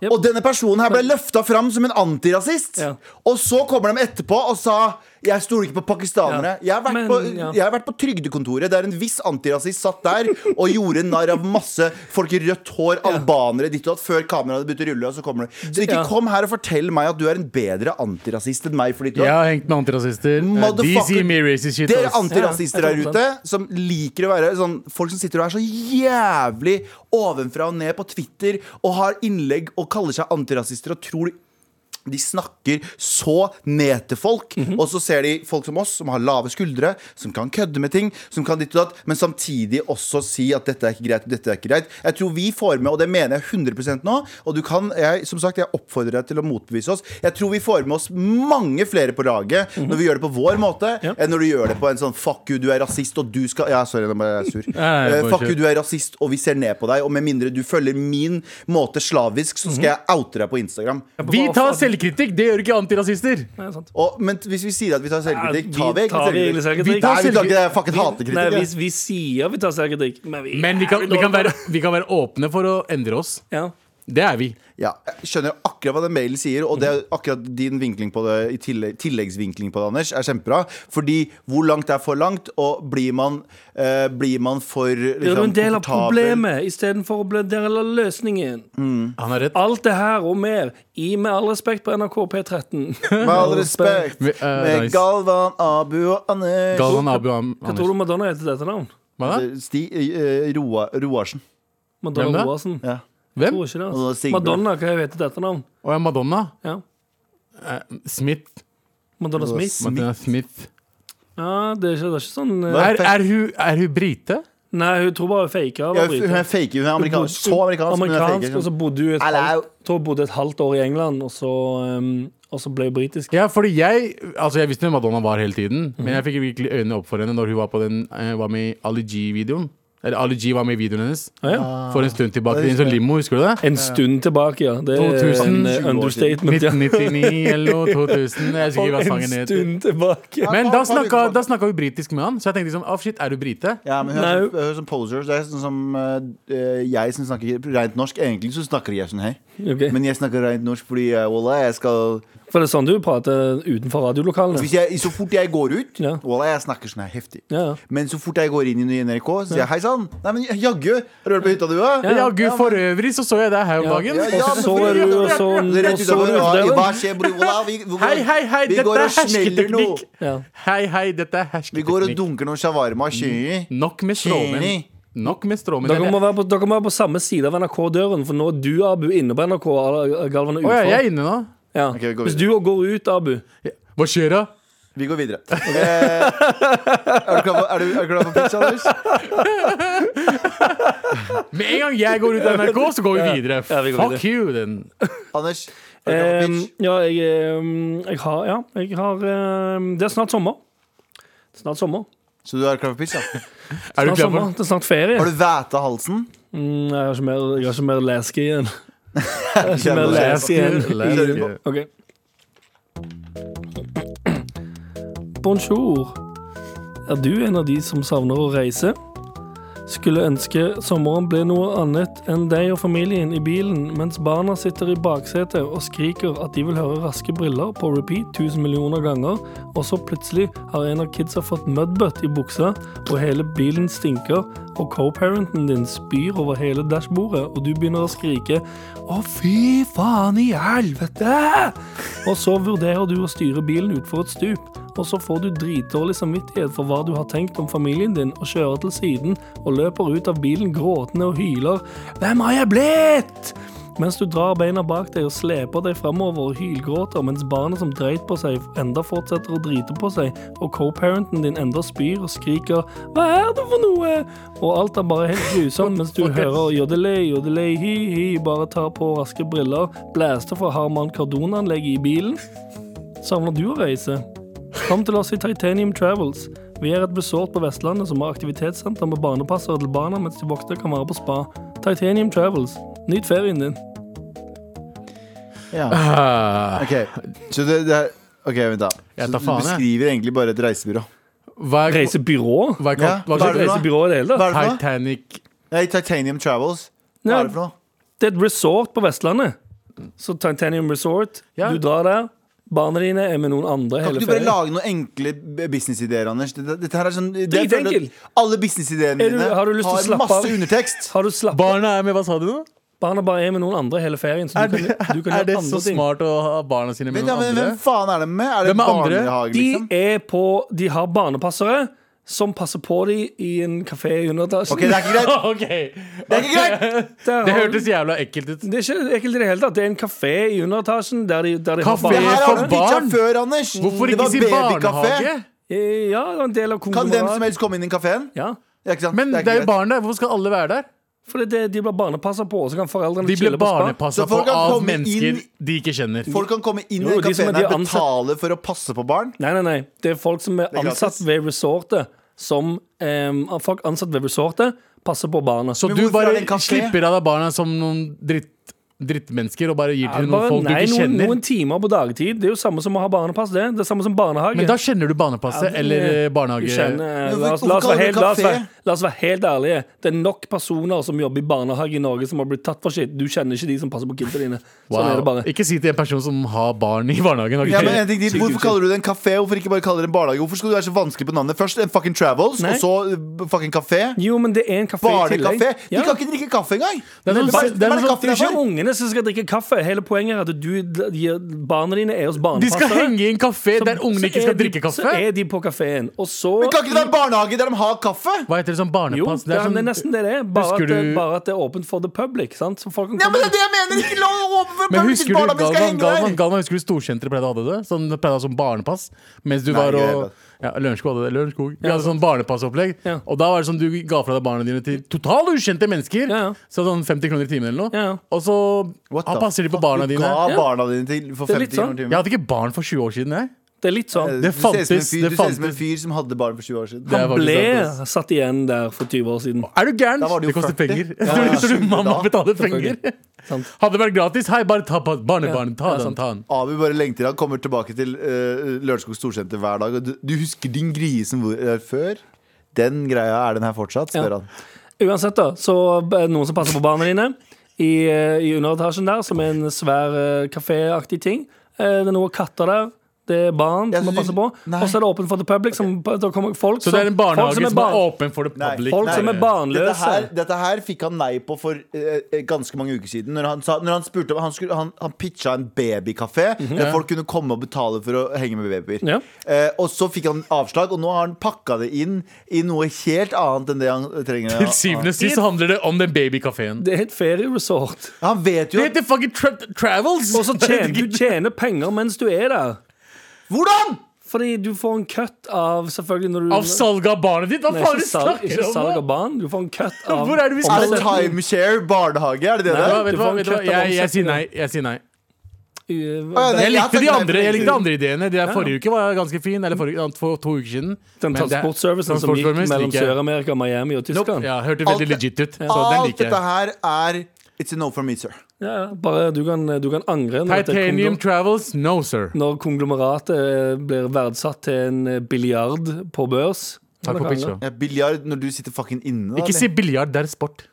Speaker 3: Yep.
Speaker 4: Og denne personen her ble løfta fram som en antirasist.
Speaker 3: Ja.
Speaker 4: Og så kommer de etterpå og sa 'jeg stoler ikke på pakistanere'.
Speaker 3: Ja.
Speaker 4: Jeg, har vært
Speaker 3: Men,
Speaker 4: på,
Speaker 3: ja.
Speaker 4: jeg har vært på Trygdekontoret, der en viss antirasist satt der og gjorde narr av masse folk i rødt hår, albanere, ditt og datt, før kameraet begynte å rulle, og så kommer det. Så ikke
Speaker 3: Ja.
Speaker 4: kom her og fortell meg at du er en bedre antirasist enn meg for ditt og datt.
Speaker 2: Jeg har hengt med antirasister. Eh, De
Speaker 4: Motherfucker.
Speaker 2: sier mye racist shit.
Speaker 4: Dere
Speaker 2: ass.
Speaker 4: antirasister
Speaker 3: Ja,
Speaker 4: der
Speaker 3: jeg tror
Speaker 4: ute som liker å være sånn Folk som sitter og er så jævlig ovenfra og ned på Twitter og har innlegg og kaller seg antirasister og tror de snakker så ned til folk, og så ser de folk som oss, som har lave skuldre, som kan kødde med ting, som kan ditt og datt, men samtidig også si at dette er ikke greit, og dette er ikke greit. Jeg tror vi får med, og det mener jeg 100 nå, og du kan, jeg, som sagt, jeg oppfordrer deg til å motbevise oss. Jeg tror vi får med oss mange flere på laget når vi gjør det på vår måte, enn når du gjør det på en sånn fuck you, du er rasist, og du skal Ja, sorry, nå ble jeg sur.
Speaker 2: Nei, nei,
Speaker 4: Eh,
Speaker 2: bare
Speaker 4: fuck you,
Speaker 2: kjør.
Speaker 4: du er rasist, og vi ser ned på deg, og med mindre du følger min måte slavisk, så skal jeg oute deg på Instagram.
Speaker 2: Vi tar selvkritikk, det gjør ikke antirasister.
Speaker 3: Nei, sant.
Speaker 4: Og, men hvis vi sier at vi tar selvkritikk,
Speaker 3: Ja,
Speaker 4: tar vi egentlig
Speaker 3: tar vi
Speaker 4: selvkritikk?
Speaker 3: egentlig selvkritikk?
Speaker 4: Vi tar Nei, vi tar ikke det, fucking
Speaker 3: Nei,
Speaker 4: hatekritikk.
Speaker 3: vi,
Speaker 4: jeg.
Speaker 3: vi sier vi tar selvkritikk, men vi,
Speaker 2: Men vi kan, vi, kan være, vi kan være åpne for å endre oss.
Speaker 3: ja.
Speaker 2: Det er vi.
Speaker 4: Ja, jeg skjønner akkurat hva den mailen sier, og det er akkurat din vinkling på det, i tillegg, tilleggsvinkling på det, Anders, er kjempebra. Fordi hvor langt er for langt, og blir man, eh, blir man for liksom,
Speaker 3: Blir du en del av
Speaker 4: komfortabel-
Speaker 3: problemet istedenfor å bli en del av løsningen?
Speaker 2: Han har rett.
Speaker 4: Ah,
Speaker 3: Alt det her og mer i Med all respekt på NRK P13.
Speaker 4: Med all respekt,
Speaker 2: Vi- eh,
Speaker 4: med
Speaker 2: nice.
Speaker 4: Galvan, Abu og Anders.
Speaker 2: Galvan Abu Am-
Speaker 3: Hva tror
Speaker 2: Andersen.
Speaker 3: du Madonna heter til etternavn?
Speaker 2: Hva da?
Speaker 4: Sti, eh, Roa, Roarsen.
Speaker 2: Hvem
Speaker 3: Madonna
Speaker 2: da?
Speaker 3: Roasen.
Speaker 4: Ja.
Speaker 2: Hvem?
Speaker 3: Tror ikke det.
Speaker 4: Madonna
Speaker 3: Altså.
Speaker 4: Sigbjørn.
Speaker 3: Madonna, hva heter til etternavn?
Speaker 2: Å ja, Madonna. Eh,
Speaker 3: Ja.
Speaker 2: Smith.
Speaker 3: Madonna Smith?
Speaker 2: Madonna Smith.
Speaker 3: Ja, det er ikke, det er ikke sånn eh,
Speaker 4: Hva?
Speaker 2: Er, er, hun, er hun brite?
Speaker 3: Nei, hun tror bare hun faker.
Speaker 4: Ja,
Speaker 3: eller
Speaker 4: hun er
Speaker 3: briter.
Speaker 4: fake, hun er amerikansk. Så amerikansk, men hun er liksom.
Speaker 3: Amerikansk,
Speaker 4: fake,
Speaker 3: og så bodde hun et
Speaker 4: Hello.
Speaker 3: halvt, tror hun bodde et halvt år i England, og så, ehm, og så ble hun britisk.
Speaker 2: Ja, fordi jeg Altså, jeg visste hvem Madonna var hele tiden, men jeg fikk virkelig øynene opp for henne når hun var, på den, eh, var med i Ali G-videoen. Eller Ali G var med i videoen hennes
Speaker 3: Ja,
Speaker 4: Ah,
Speaker 3: ja.
Speaker 2: for en stund tilbake. I en sånn limo, husker du det?
Speaker 3: En stund tilbake, ja. Det er
Speaker 2: 2000.
Speaker 3: en eh, understatement. Ja.
Speaker 2: 1999 eller noe, 2000. Jeg husker ikke hva
Speaker 3: En
Speaker 2: sangen het.
Speaker 3: stund tilbake.
Speaker 4: Ah.
Speaker 2: Men da snakka, da snakka vi britisk med han, så jeg tenkte liksom, ah shit, er du brite?
Speaker 4: Ja, men hun
Speaker 3: Nei,
Speaker 4: er
Speaker 3: hun-
Speaker 4: sånn- hun er sånn poser. Det er sånn som eh, jeg som snakker rent norsk. Egentlig så snakker jeg sånn her.
Speaker 3: Ok.
Speaker 4: Men jeg snakker rent norsk fordi eh, wallah, jeg skal
Speaker 3: For det er sånn du prater utenfor radiolokalene.
Speaker 4: Hvis jeg, Så fort jeg går ut,
Speaker 3: Ja.
Speaker 4: wallah, jeg snakker sånn her heftig.
Speaker 3: Ja, ja.
Speaker 4: Men så fort jeg går inn i NRK, så sier jeg hei sann. Nei, men jaggu, har du vært på hytta du, da?
Speaker 2: Ja, gud, for øvrig så så jeg deg her om
Speaker 3: Ja.
Speaker 2: dagen.
Speaker 3: Ja, ja.
Speaker 2: Og så-
Speaker 3: så er du, og så-
Speaker 4: Rett
Speaker 3: og så
Speaker 4: utenfor,
Speaker 3: er du
Speaker 4: ja,
Speaker 3: der.
Speaker 4: Hva skjer, bror? Wallah, vi- vi går-
Speaker 2: Hei, hei, hei,
Speaker 4: vi
Speaker 2: dette
Speaker 4: går
Speaker 2: er
Speaker 4: og smeller nå.
Speaker 2: hersketeknikk!
Speaker 3: Ja.
Speaker 2: Hei, hei, dette er
Speaker 4: Vi går og
Speaker 2: hersketeknikk.
Speaker 4: dunker noen shawarma og kjøy.
Speaker 2: Nok med stråmenn.
Speaker 4: Kjeni.
Speaker 2: Nok med stråmenn.
Speaker 3: Dere må,
Speaker 2: Det-
Speaker 3: være på, dere må være på samme side av NRK-døren, for nå er du, Abu, inne på NRK. og Galvan
Speaker 2: Å
Speaker 3: er utenfor.
Speaker 2: ja, jeg er inne nå.
Speaker 3: Ja.
Speaker 4: Ok, vi går
Speaker 3: Hvis du går ut, Abu
Speaker 2: Hva skjer da?
Speaker 4: Vi går videre. Eh, er, du klar for, er, du, er du klar for pizza, Anders?
Speaker 2: Med en gang jeg går ut av NRK, så går vi videre.
Speaker 3: Ja, vi går
Speaker 2: Fuck you, den.
Speaker 4: Anders? Er du klar for
Speaker 3: Um,
Speaker 4: pitch?
Speaker 3: ja, jeg, um, jeg har, ja, jeg har um, Det er snart sommer. Det er snart sommer.
Speaker 4: Så du er klar for pizza?
Speaker 2: Er du klar
Speaker 3: Snart sommer.
Speaker 2: for
Speaker 3: Det er snart ferie.
Speaker 4: Har du væta halsen?
Speaker 3: Mm, jeg har ikke mer, jeg har ikke mer leske igjen. Jeg har ikke mer
Speaker 4: Kjenner det.
Speaker 3: leske igjen.
Speaker 2: Leske.
Speaker 3: i- Ok. Bonjour. Er du en av de som savner å reise? Skulle ønske sommeren ble noe annet enn deg og familien i bilen, mens barna sitter i baksetet og skriker at de vil høre Raske briller på repeat tusen millioner ganger, og så plutselig har en av kidsa fått mudbutt i buksa, og hele bilen stinker, og co-parenten din spyr over hele dashbordet, og du begynner å skrike 'Å, fy faen i helvete!' Og så vurderer du å styre bilen utfor et stup, og så får du dritdårlig samvittighet for hva du har tenkt om familien din, og kjører til siden og løper ut av bilen gråtende og hyler 'Hvem har jeg blitt?' Mens du drar beina bak deg og sleper deg framover og hylgråter, mens barnet som dreit på seg, enda fortsetter å drite på seg, og co-parenten din enda spyr og skriker 'Hva er det for noe?' Og alt er bare helt grusomt mens du hører jodelei, jodelei, hi-hi, bare tar på raske briller, blæster fra Harman Kardon-anlegget i bilen. Savner du å reise? Kom til oss i Titanium Travels. Vi er et besort på Vestlandet som har aktivitetssenter med barnepassere til barna mens de voksne kan være på spa. Titanium Travels. Nyt ferien din.
Speaker 4: Ja.
Speaker 2: Ah,
Speaker 4: Ok, så det, det er Ok, vent, da.
Speaker 2: Jeg
Speaker 4: Så
Speaker 2: tar
Speaker 4: du
Speaker 2: faen, jeg.
Speaker 4: beskriver egentlig bare et reisebyrå.
Speaker 2: Hva er
Speaker 3: Reisebyrå?
Speaker 2: hva er
Speaker 4: Ja,
Speaker 2: kalt- hva
Speaker 4: hva er
Speaker 2: er kalt-
Speaker 4: det da?
Speaker 3: Reisebyrå i det hele
Speaker 4: Hva
Speaker 3: tatt.
Speaker 4: er det for noe?
Speaker 2: Titanic
Speaker 4: Nei, Titanium Travels. Hva
Speaker 3: Ja.
Speaker 4: er det for noe?
Speaker 3: Det er et resort på Vestlandet. Så Titanium Resort.
Speaker 2: Ja.
Speaker 3: Du drar der. Barna dine er med noen andre
Speaker 4: Kan
Speaker 3: hele
Speaker 4: ikke du bare
Speaker 3: ferien.
Speaker 4: lage noen enkle b- businessideer, Anders? Dette, dette her er sånn det,
Speaker 3: Dritenkel.
Speaker 4: jeg føler at Alle businessideene
Speaker 3: Er du-
Speaker 4: dine
Speaker 3: har du lyst til å slappe
Speaker 4: masse
Speaker 3: av?
Speaker 4: undertekst.
Speaker 3: Har du slapp
Speaker 2: Barna er med, hva sa du nå?
Speaker 3: Barna bare er med noen andre hele ferien, så
Speaker 2: Er
Speaker 3: du kan,
Speaker 2: det,
Speaker 3: du kan
Speaker 2: er
Speaker 3: gjøre
Speaker 2: det
Speaker 3: andre
Speaker 2: så
Speaker 3: ting.
Speaker 2: smart å ha barna sine med
Speaker 4: Vent, ja,
Speaker 2: noen
Speaker 4: men hvem
Speaker 2: andre?
Speaker 4: faen er de med? Er det
Speaker 2: Hvem er andre?
Speaker 4: barnehage,
Speaker 3: De
Speaker 4: liksom?
Speaker 3: er på De har barnepassere som passer på dem i en kafé i underetasjen.
Speaker 4: Ok, det er ikke greit.
Speaker 2: Ok,
Speaker 4: Det er ikke greit!
Speaker 3: Der
Speaker 2: Det
Speaker 3: har-
Speaker 2: hørtes jævla ekkelt ut.
Speaker 3: det er ikke ekkelt i det hele tatt. Det er en kafé i underetasjen der de, der de
Speaker 2: Kafé?
Speaker 4: Det her har
Speaker 2: for
Speaker 4: du pitcha
Speaker 2: barn.
Speaker 4: før, Anders.
Speaker 2: Hvorfor ikke
Speaker 4: Det var
Speaker 2: si
Speaker 4: babykafé.
Speaker 2: barnehage?
Speaker 3: Eh, Ja, det var en del av
Speaker 4: Kan hvem som
Speaker 3: konglomeratet.
Speaker 4: helst komme inn i kafeen?
Speaker 3: Ja.
Speaker 4: Ja, ikke sant?
Speaker 2: Men det er jo
Speaker 4: greit.
Speaker 2: barn der, hvorfor skal alle være der?
Speaker 3: For det, de blir barnepasser på, og så kan foreldrene
Speaker 2: De blir
Speaker 3: chille på spa.
Speaker 2: barnepassa
Speaker 4: Så
Speaker 2: på
Speaker 4: folk kan
Speaker 2: av
Speaker 4: komme
Speaker 2: mennesker
Speaker 4: inn-
Speaker 2: de ikke kjenner.
Speaker 4: Folk kan komme inn
Speaker 3: Jo,
Speaker 4: i
Speaker 3: de som er-
Speaker 4: kafeen
Speaker 3: de er
Speaker 4: og
Speaker 3: ansatt.
Speaker 4: betale for å passe på barn.
Speaker 3: Nei, nei, nei. Det er folk som er
Speaker 4: er gratis.
Speaker 3: ansatt ved resortet, som em, Folk ansatt ved resortet passer på barna.
Speaker 2: Så
Speaker 4: Men
Speaker 2: du
Speaker 4: hvorfor er det en
Speaker 2: bare
Speaker 4: kafé?
Speaker 2: slipper av deg barna som noen dritt, drittmennesker og bare gir til noen
Speaker 3: Bare-
Speaker 2: folk du
Speaker 3: nei,
Speaker 2: ikke
Speaker 3: noen,
Speaker 2: kjenner?
Speaker 3: noen timer på dagtid. Det er jo samme som å ha barnepass. Det Det er samme som barnehage.
Speaker 2: Men da kjenner du barnepasset
Speaker 3: Ja, det-
Speaker 2: eller eh,
Speaker 3: Du
Speaker 2: barnehage...
Speaker 3: kjenner-
Speaker 4: Hvorfor-
Speaker 3: La oss-
Speaker 4: hvorfor
Speaker 3: la oss være
Speaker 4: kaller du
Speaker 3: helt- la oss
Speaker 4: kafé?
Speaker 3: være- la oss være helt ærlige. Det er nok personer som jobber i barnehage i Norge som har blitt tatt for shit. Du kjenner ikke de som passer på kidsa dine. Sånn er
Speaker 2: Wow.
Speaker 3: det bare.
Speaker 2: Ikke si til en person som har barn i barnehagen. ok?
Speaker 4: Ja, men en ting til, Hvorfor kaller du det en kafé? Hvorfor ikke bare kalle det en barnehage? Hvorfor skal du være så vanskelig på navnet? Først en fucking Travels,
Speaker 3: Nei.
Speaker 4: og så uh, fucking kafé.
Speaker 3: Jo, men det er en kafé i tillegg.
Speaker 4: Barnekafé. De
Speaker 3: Ja.
Speaker 4: kan ikke drikke kaffe engang!
Speaker 2: Det er noe-
Speaker 4: bare-
Speaker 2: det er noe
Speaker 4: bare
Speaker 2: sånn-
Speaker 4: kaffe
Speaker 3: Det er
Speaker 4: der
Speaker 3: ikke
Speaker 4: var.
Speaker 3: ungene som skal drikke kaffe. Hele poenget er at du, de, barna dine er hos
Speaker 2: De skal
Speaker 3: barnepassere.
Speaker 2: henge i en kafé
Speaker 3: Så-
Speaker 2: der ungene
Speaker 3: så
Speaker 2: ikke
Speaker 3: er
Speaker 2: skal
Speaker 3: de-
Speaker 2: drikke kaffe?
Speaker 3: Så er de på kafeen, og så
Speaker 4: Men Kan ikke det være en barnehage der de har kaffe?
Speaker 2: Hva heter det sånn
Speaker 3: Jo,
Speaker 2: barnepass?
Speaker 3: det er, det er nesten det det er. Bare
Speaker 2: Husker
Speaker 3: at det,
Speaker 2: du-
Speaker 3: bare at det er åpent for the public. Sant? Så folk kan
Speaker 4: Ja, men
Speaker 3: komme
Speaker 4: det er det jeg mener! Ikke la åpne for
Speaker 2: men
Speaker 4: public,
Speaker 2: husker du
Speaker 4: barna mine skal
Speaker 2: Galvan,
Speaker 4: henge der.
Speaker 2: Galvan, Galvan, husker du Storsenteret pleide å ha det? Sånn, det pleide å ha sånn barnepass. Mens du
Speaker 4: Nei,
Speaker 2: var
Speaker 4: ikke
Speaker 2: og
Speaker 4: helt.
Speaker 2: ja, Lørenskog hadde det. Lørenskog. Vi hadde sånn barnepassopplegg.
Speaker 3: Ja.
Speaker 2: Og da var det sånn du ga fra deg barna dine til totalt ukjente mennesker.
Speaker 3: Ja, ja.
Speaker 2: Så sånn 50 kroner i timen eller noe.
Speaker 3: Ja, ja.
Speaker 2: Og så
Speaker 4: What
Speaker 2: ah,
Speaker 4: the
Speaker 2: passer de på
Speaker 4: fuck?
Speaker 2: barna
Speaker 4: Du
Speaker 2: dine.
Speaker 4: Ga barna dine til for
Speaker 3: Det er litt
Speaker 4: 50 kroner
Speaker 3: sånn.
Speaker 4: timen.
Speaker 2: Jeg hadde ikke barn for 20 år siden, jeg.
Speaker 3: Det er litt sånn.
Speaker 2: Det
Speaker 4: Du ser ut som en
Speaker 2: fantes,
Speaker 4: fyr-
Speaker 2: det
Speaker 4: Du ser ut som en
Speaker 2: fantes.
Speaker 4: fyr som hadde barn for 20 år siden.
Speaker 2: Det er faktisk
Speaker 3: Ble
Speaker 2: sant, ass.
Speaker 3: satt igjen der for 20 år siden.
Speaker 2: Er du gæren?
Speaker 4: Da var det
Speaker 2: Det
Speaker 4: jo
Speaker 2: koster
Speaker 4: 40.
Speaker 2: penger.
Speaker 4: Ja,
Speaker 2: Tror du-
Speaker 4: ja.
Speaker 2: Tror du mamma
Speaker 4: Da.
Speaker 2: betaler penger?
Speaker 3: Sant.
Speaker 2: Hadde det vært gratis, hei, bare ta på barnebarnet. Ta
Speaker 3: Ja,
Speaker 2: den,
Speaker 3: sant.
Speaker 2: ta den.
Speaker 4: Abu bare lengter Han kommer tilbake til uh, Lørenskog Storsenter hver dag. Og du, du husker din grie som hvor, er før? Den greia, er den her fortsatt? spør
Speaker 3: Ja.
Speaker 4: han.
Speaker 3: Uansett, da, så er det noen som passer på barna dine i, eh, i underetasjen der, som er en svær eh, kaféaktig ting. Eh, Det er noen katter der. Det er barn
Speaker 4: Ja,
Speaker 3: som
Speaker 4: så
Speaker 3: må
Speaker 4: du-
Speaker 3: passe på.
Speaker 4: Nei.
Speaker 3: Og så er det åpent for the public. Som, da kommer folk
Speaker 2: Så det er en barnehage som er,
Speaker 3: barn-
Speaker 2: åpen for the
Speaker 4: Nei.
Speaker 2: public.
Speaker 3: Folk som er barnløse.
Speaker 4: Dette her, dette her fikk han nei på for eh, eh, ganske mange uker siden. Når han, sa, når han spurte om Han, skulle, han, han pitcha en babykafé der folk kunne komme og betale for å henge med babyer.
Speaker 3: Mhm. Ja.
Speaker 4: Eh, og så fikk han avslag, og nå har han pakka det inn i noe helt annet enn det han trenger.
Speaker 2: Til syvende og sist så handler det om den babykafeen.
Speaker 3: Det er et ferieresort.
Speaker 4: Han vet jo
Speaker 2: Det heter fucking tra Travels!
Speaker 3: Og så tjener du tjener penger mens du er der.
Speaker 4: Hvordan?!
Speaker 3: Fordi du får en cut av selvfølgelig når du
Speaker 8: Av salg av barnet ditt? Hva
Speaker 3: Nei,
Speaker 8: faen er
Speaker 3: ikke
Speaker 8: det du
Speaker 3: salg,
Speaker 8: snakker
Speaker 3: ikke
Speaker 8: om?
Speaker 3: salg
Speaker 8: hva?
Speaker 3: av barn. Du får en cut av
Speaker 8: Hvor er det vi skal-
Speaker 4: Er
Speaker 3: omsetning.
Speaker 4: det timeshare barnehage? Er det det
Speaker 2: Vet du hva,
Speaker 4: der?
Speaker 2: vet du hva,
Speaker 3: Du får en
Speaker 2: vet du hva?
Speaker 3: kløft av
Speaker 2: Jeg, jeg sier
Speaker 3: omsetningen.
Speaker 2: nei. Jeg sier nei.
Speaker 4: Å,
Speaker 3: Eh,
Speaker 4: ja, det-
Speaker 2: Jeg
Speaker 4: jeg
Speaker 2: likte
Speaker 4: har
Speaker 2: de
Speaker 4: sagt nei
Speaker 2: andre,
Speaker 4: flere
Speaker 2: jeg likte de
Speaker 4: ganger.
Speaker 2: andre ideene. De der forrige uke var ganske fin. Eller forrige, for to uker siden.
Speaker 3: Den
Speaker 2: Men det-
Speaker 3: transportservicen som gikk
Speaker 2: transportservice
Speaker 3: mellom
Speaker 2: liker jeg.
Speaker 3: Sør-Amerika, Miami og
Speaker 2: Nope.
Speaker 3: Tyskland.
Speaker 2: Ja, hørte
Speaker 4: Alt
Speaker 2: veldig
Speaker 4: det-
Speaker 2: legit ut. Så den
Speaker 4: Alt
Speaker 2: liker jeg.
Speaker 4: dette her er It's a no for me, sir.
Speaker 3: Ja, ja. Bare du kan, du kan angre når, det er
Speaker 2: Titanium
Speaker 3: konglo-
Speaker 2: Travels, no sir.
Speaker 3: når konglomeratet eh, blir verdsatt til en eh, biljard på børs.
Speaker 2: Takk for pizza.
Speaker 4: Ja, Biljard når du sitter fucking inne. da,
Speaker 2: Ikke si
Speaker 4: eller?
Speaker 2: biljard, det er sport.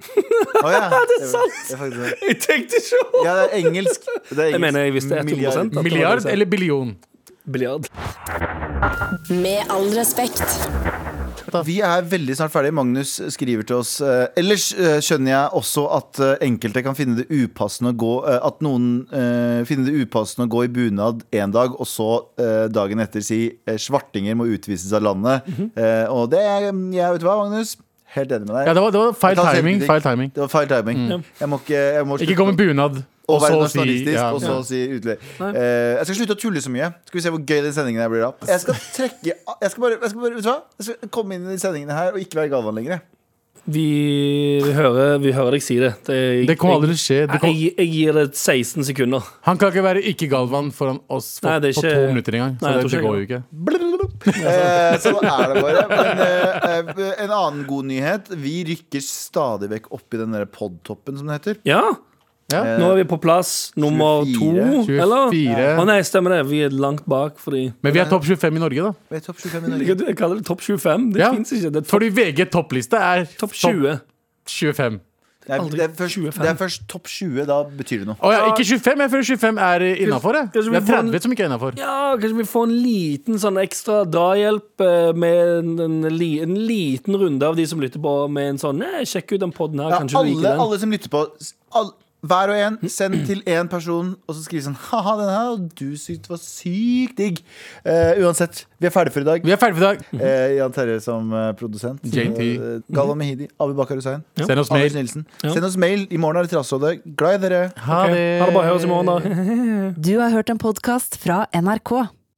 Speaker 4: Å, ja. Det er
Speaker 3: sant.
Speaker 4: det er faktisk det.
Speaker 3: Jeg tenkte ikke over
Speaker 4: Ja, det er engelsk. Det er engelsk.
Speaker 3: Jeg mener jeg visste 100
Speaker 4: Milliard.
Speaker 3: at det var det jeg
Speaker 2: Milliard
Speaker 3: sa.
Speaker 2: eller billion?
Speaker 3: biljard.
Speaker 5: Med all respekt.
Speaker 4: Vi er veldig snart ferdig. Magnus skriver til oss. eh, Ellers eh, skjønner jeg også at eh, enkelte kan finne det upassende å gå eh, At noen eh, finner det upassende å gå i bunad en dag, og så eh, dagen etter si eh, svartinger må utvises av landet.
Speaker 2: Mhm.
Speaker 4: Eh, Og det er jeg, vet du hva, Magnus? Helt enig med deg.
Speaker 2: Ja, det var, det var feil
Speaker 4: Jeg tar
Speaker 2: timing.
Speaker 4: selvkritikk.
Speaker 2: Feil timing. Mm.
Speaker 4: Det var feil timing. Jeg må ikke jeg må
Speaker 2: Ikke gå med bunad.
Speaker 4: å være
Speaker 2: så
Speaker 4: nasjonalistisk,
Speaker 2: ja.
Speaker 4: og så si utlegg. Eh, jeg skal slutte å tulle så mye. Skal vi se hvor gøy den sendingen her blir da. Jeg skal trekke Jeg skal bare, jeg skal bare Vet du hva? Jeg skal komme inn i de sendingene her og ikke være Galvan lenger. jeg.
Speaker 3: Vi hører, vi hører deg si det. Det,
Speaker 2: Det kommer aldri til å skje. Det
Speaker 3: jeg,
Speaker 2: kom,
Speaker 3: jeg, jeg gir det 16 sekunder.
Speaker 2: han kan ikke være ikke-Galvan foran oss for,
Speaker 3: Nei, det er
Speaker 2: på
Speaker 3: ikke-
Speaker 2: to minutter engang. Så
Speaker 3: Nei, jeg
Speaker 2: det,
Speaker 3: tror
Speaker 2: det
Speaker 3: ikke
Speaker 2: går jo ikke.
Speaker 4: Eh, sånn er det bare. Men eh, eh, en annen god nyhet. Vi rykker stadig vekk opp i den der podtoppen, som det heter.
Speaker 3: Ja,
Speaker 2: Ja.
Speaker 4: Eh,
Speaker 3: nå er vi på plass nummer
Speaker 4: 24,
Speaker 3: to, eller?
Speaker 2: 24.
Speaker 3: Å nei, stemmer det. Vi er langt bak, fordi
Speaker 2: Men vi er topp 25 i Norge, da.
Speaker 4: Vi er topp 25 i Norge.
Speaker 3: Jeg kaller det topp 25. Det
Speaker 2: Ja.
Speaker 3: finnes fins ikke. Det er topp
Speaker 2: Fordi VG toppliste er
Speaker 3: topp 20.
Speaker 2: 25.
Speaker 4: Det er, det er, først,
Speaker 3: 25.
Speaker 4: det er først topp 20, da betyr det noe.
Speaker 2: Å ja, ikke 25. Jeg føler 25 er innafor. Det
Speaker 3: Kanskje vi
Speaker 2: er
Speaker 3: får en-
Speaker 2: 30 som ikke er innafor.
Speaker 3: Ja, kanskje vi får en liten sånn ekstra drahjelp eh, med en, en, li- en liten runde av de som lytter på, med en sånn «Nei, Sjekk ut den poden her,
Speaker 4: Ja,
Speaker 3: kanskje du liker
Speaker 4: alle,
Speaker 3: den.
Speaker 4: alle som lytter på, s- all, hver og en, send til én person, og så skriv sånn Haha, den her og du syntes var sykt digg. Eh, uansett, vi er ferdige for i dag.
Speaker 2: Vi er ferdige for i dag.
Speaker 4: Eh, Jan Terje som eh, produsent.
Speaker 2: JT.
Speaker 4: Eh, Galvan Mehidi. Abu Bakar Hussein.
Speaker 2: Send oss
Speaker 4: Anders
Speaker 2: mail.
Speaker 4: Nilsen. Send oss mail. I morgen er det Trassrådet. Glad i dere.
Speaker 2: Ha det.
Speaker 3: Ha det bare høres i morgen, da.
Speaker 1: Du har hørt en podkast fra NRK.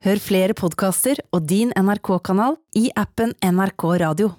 Speaker 1: Hør flere podkaster og din NRK-kanal i appen NRK Radio.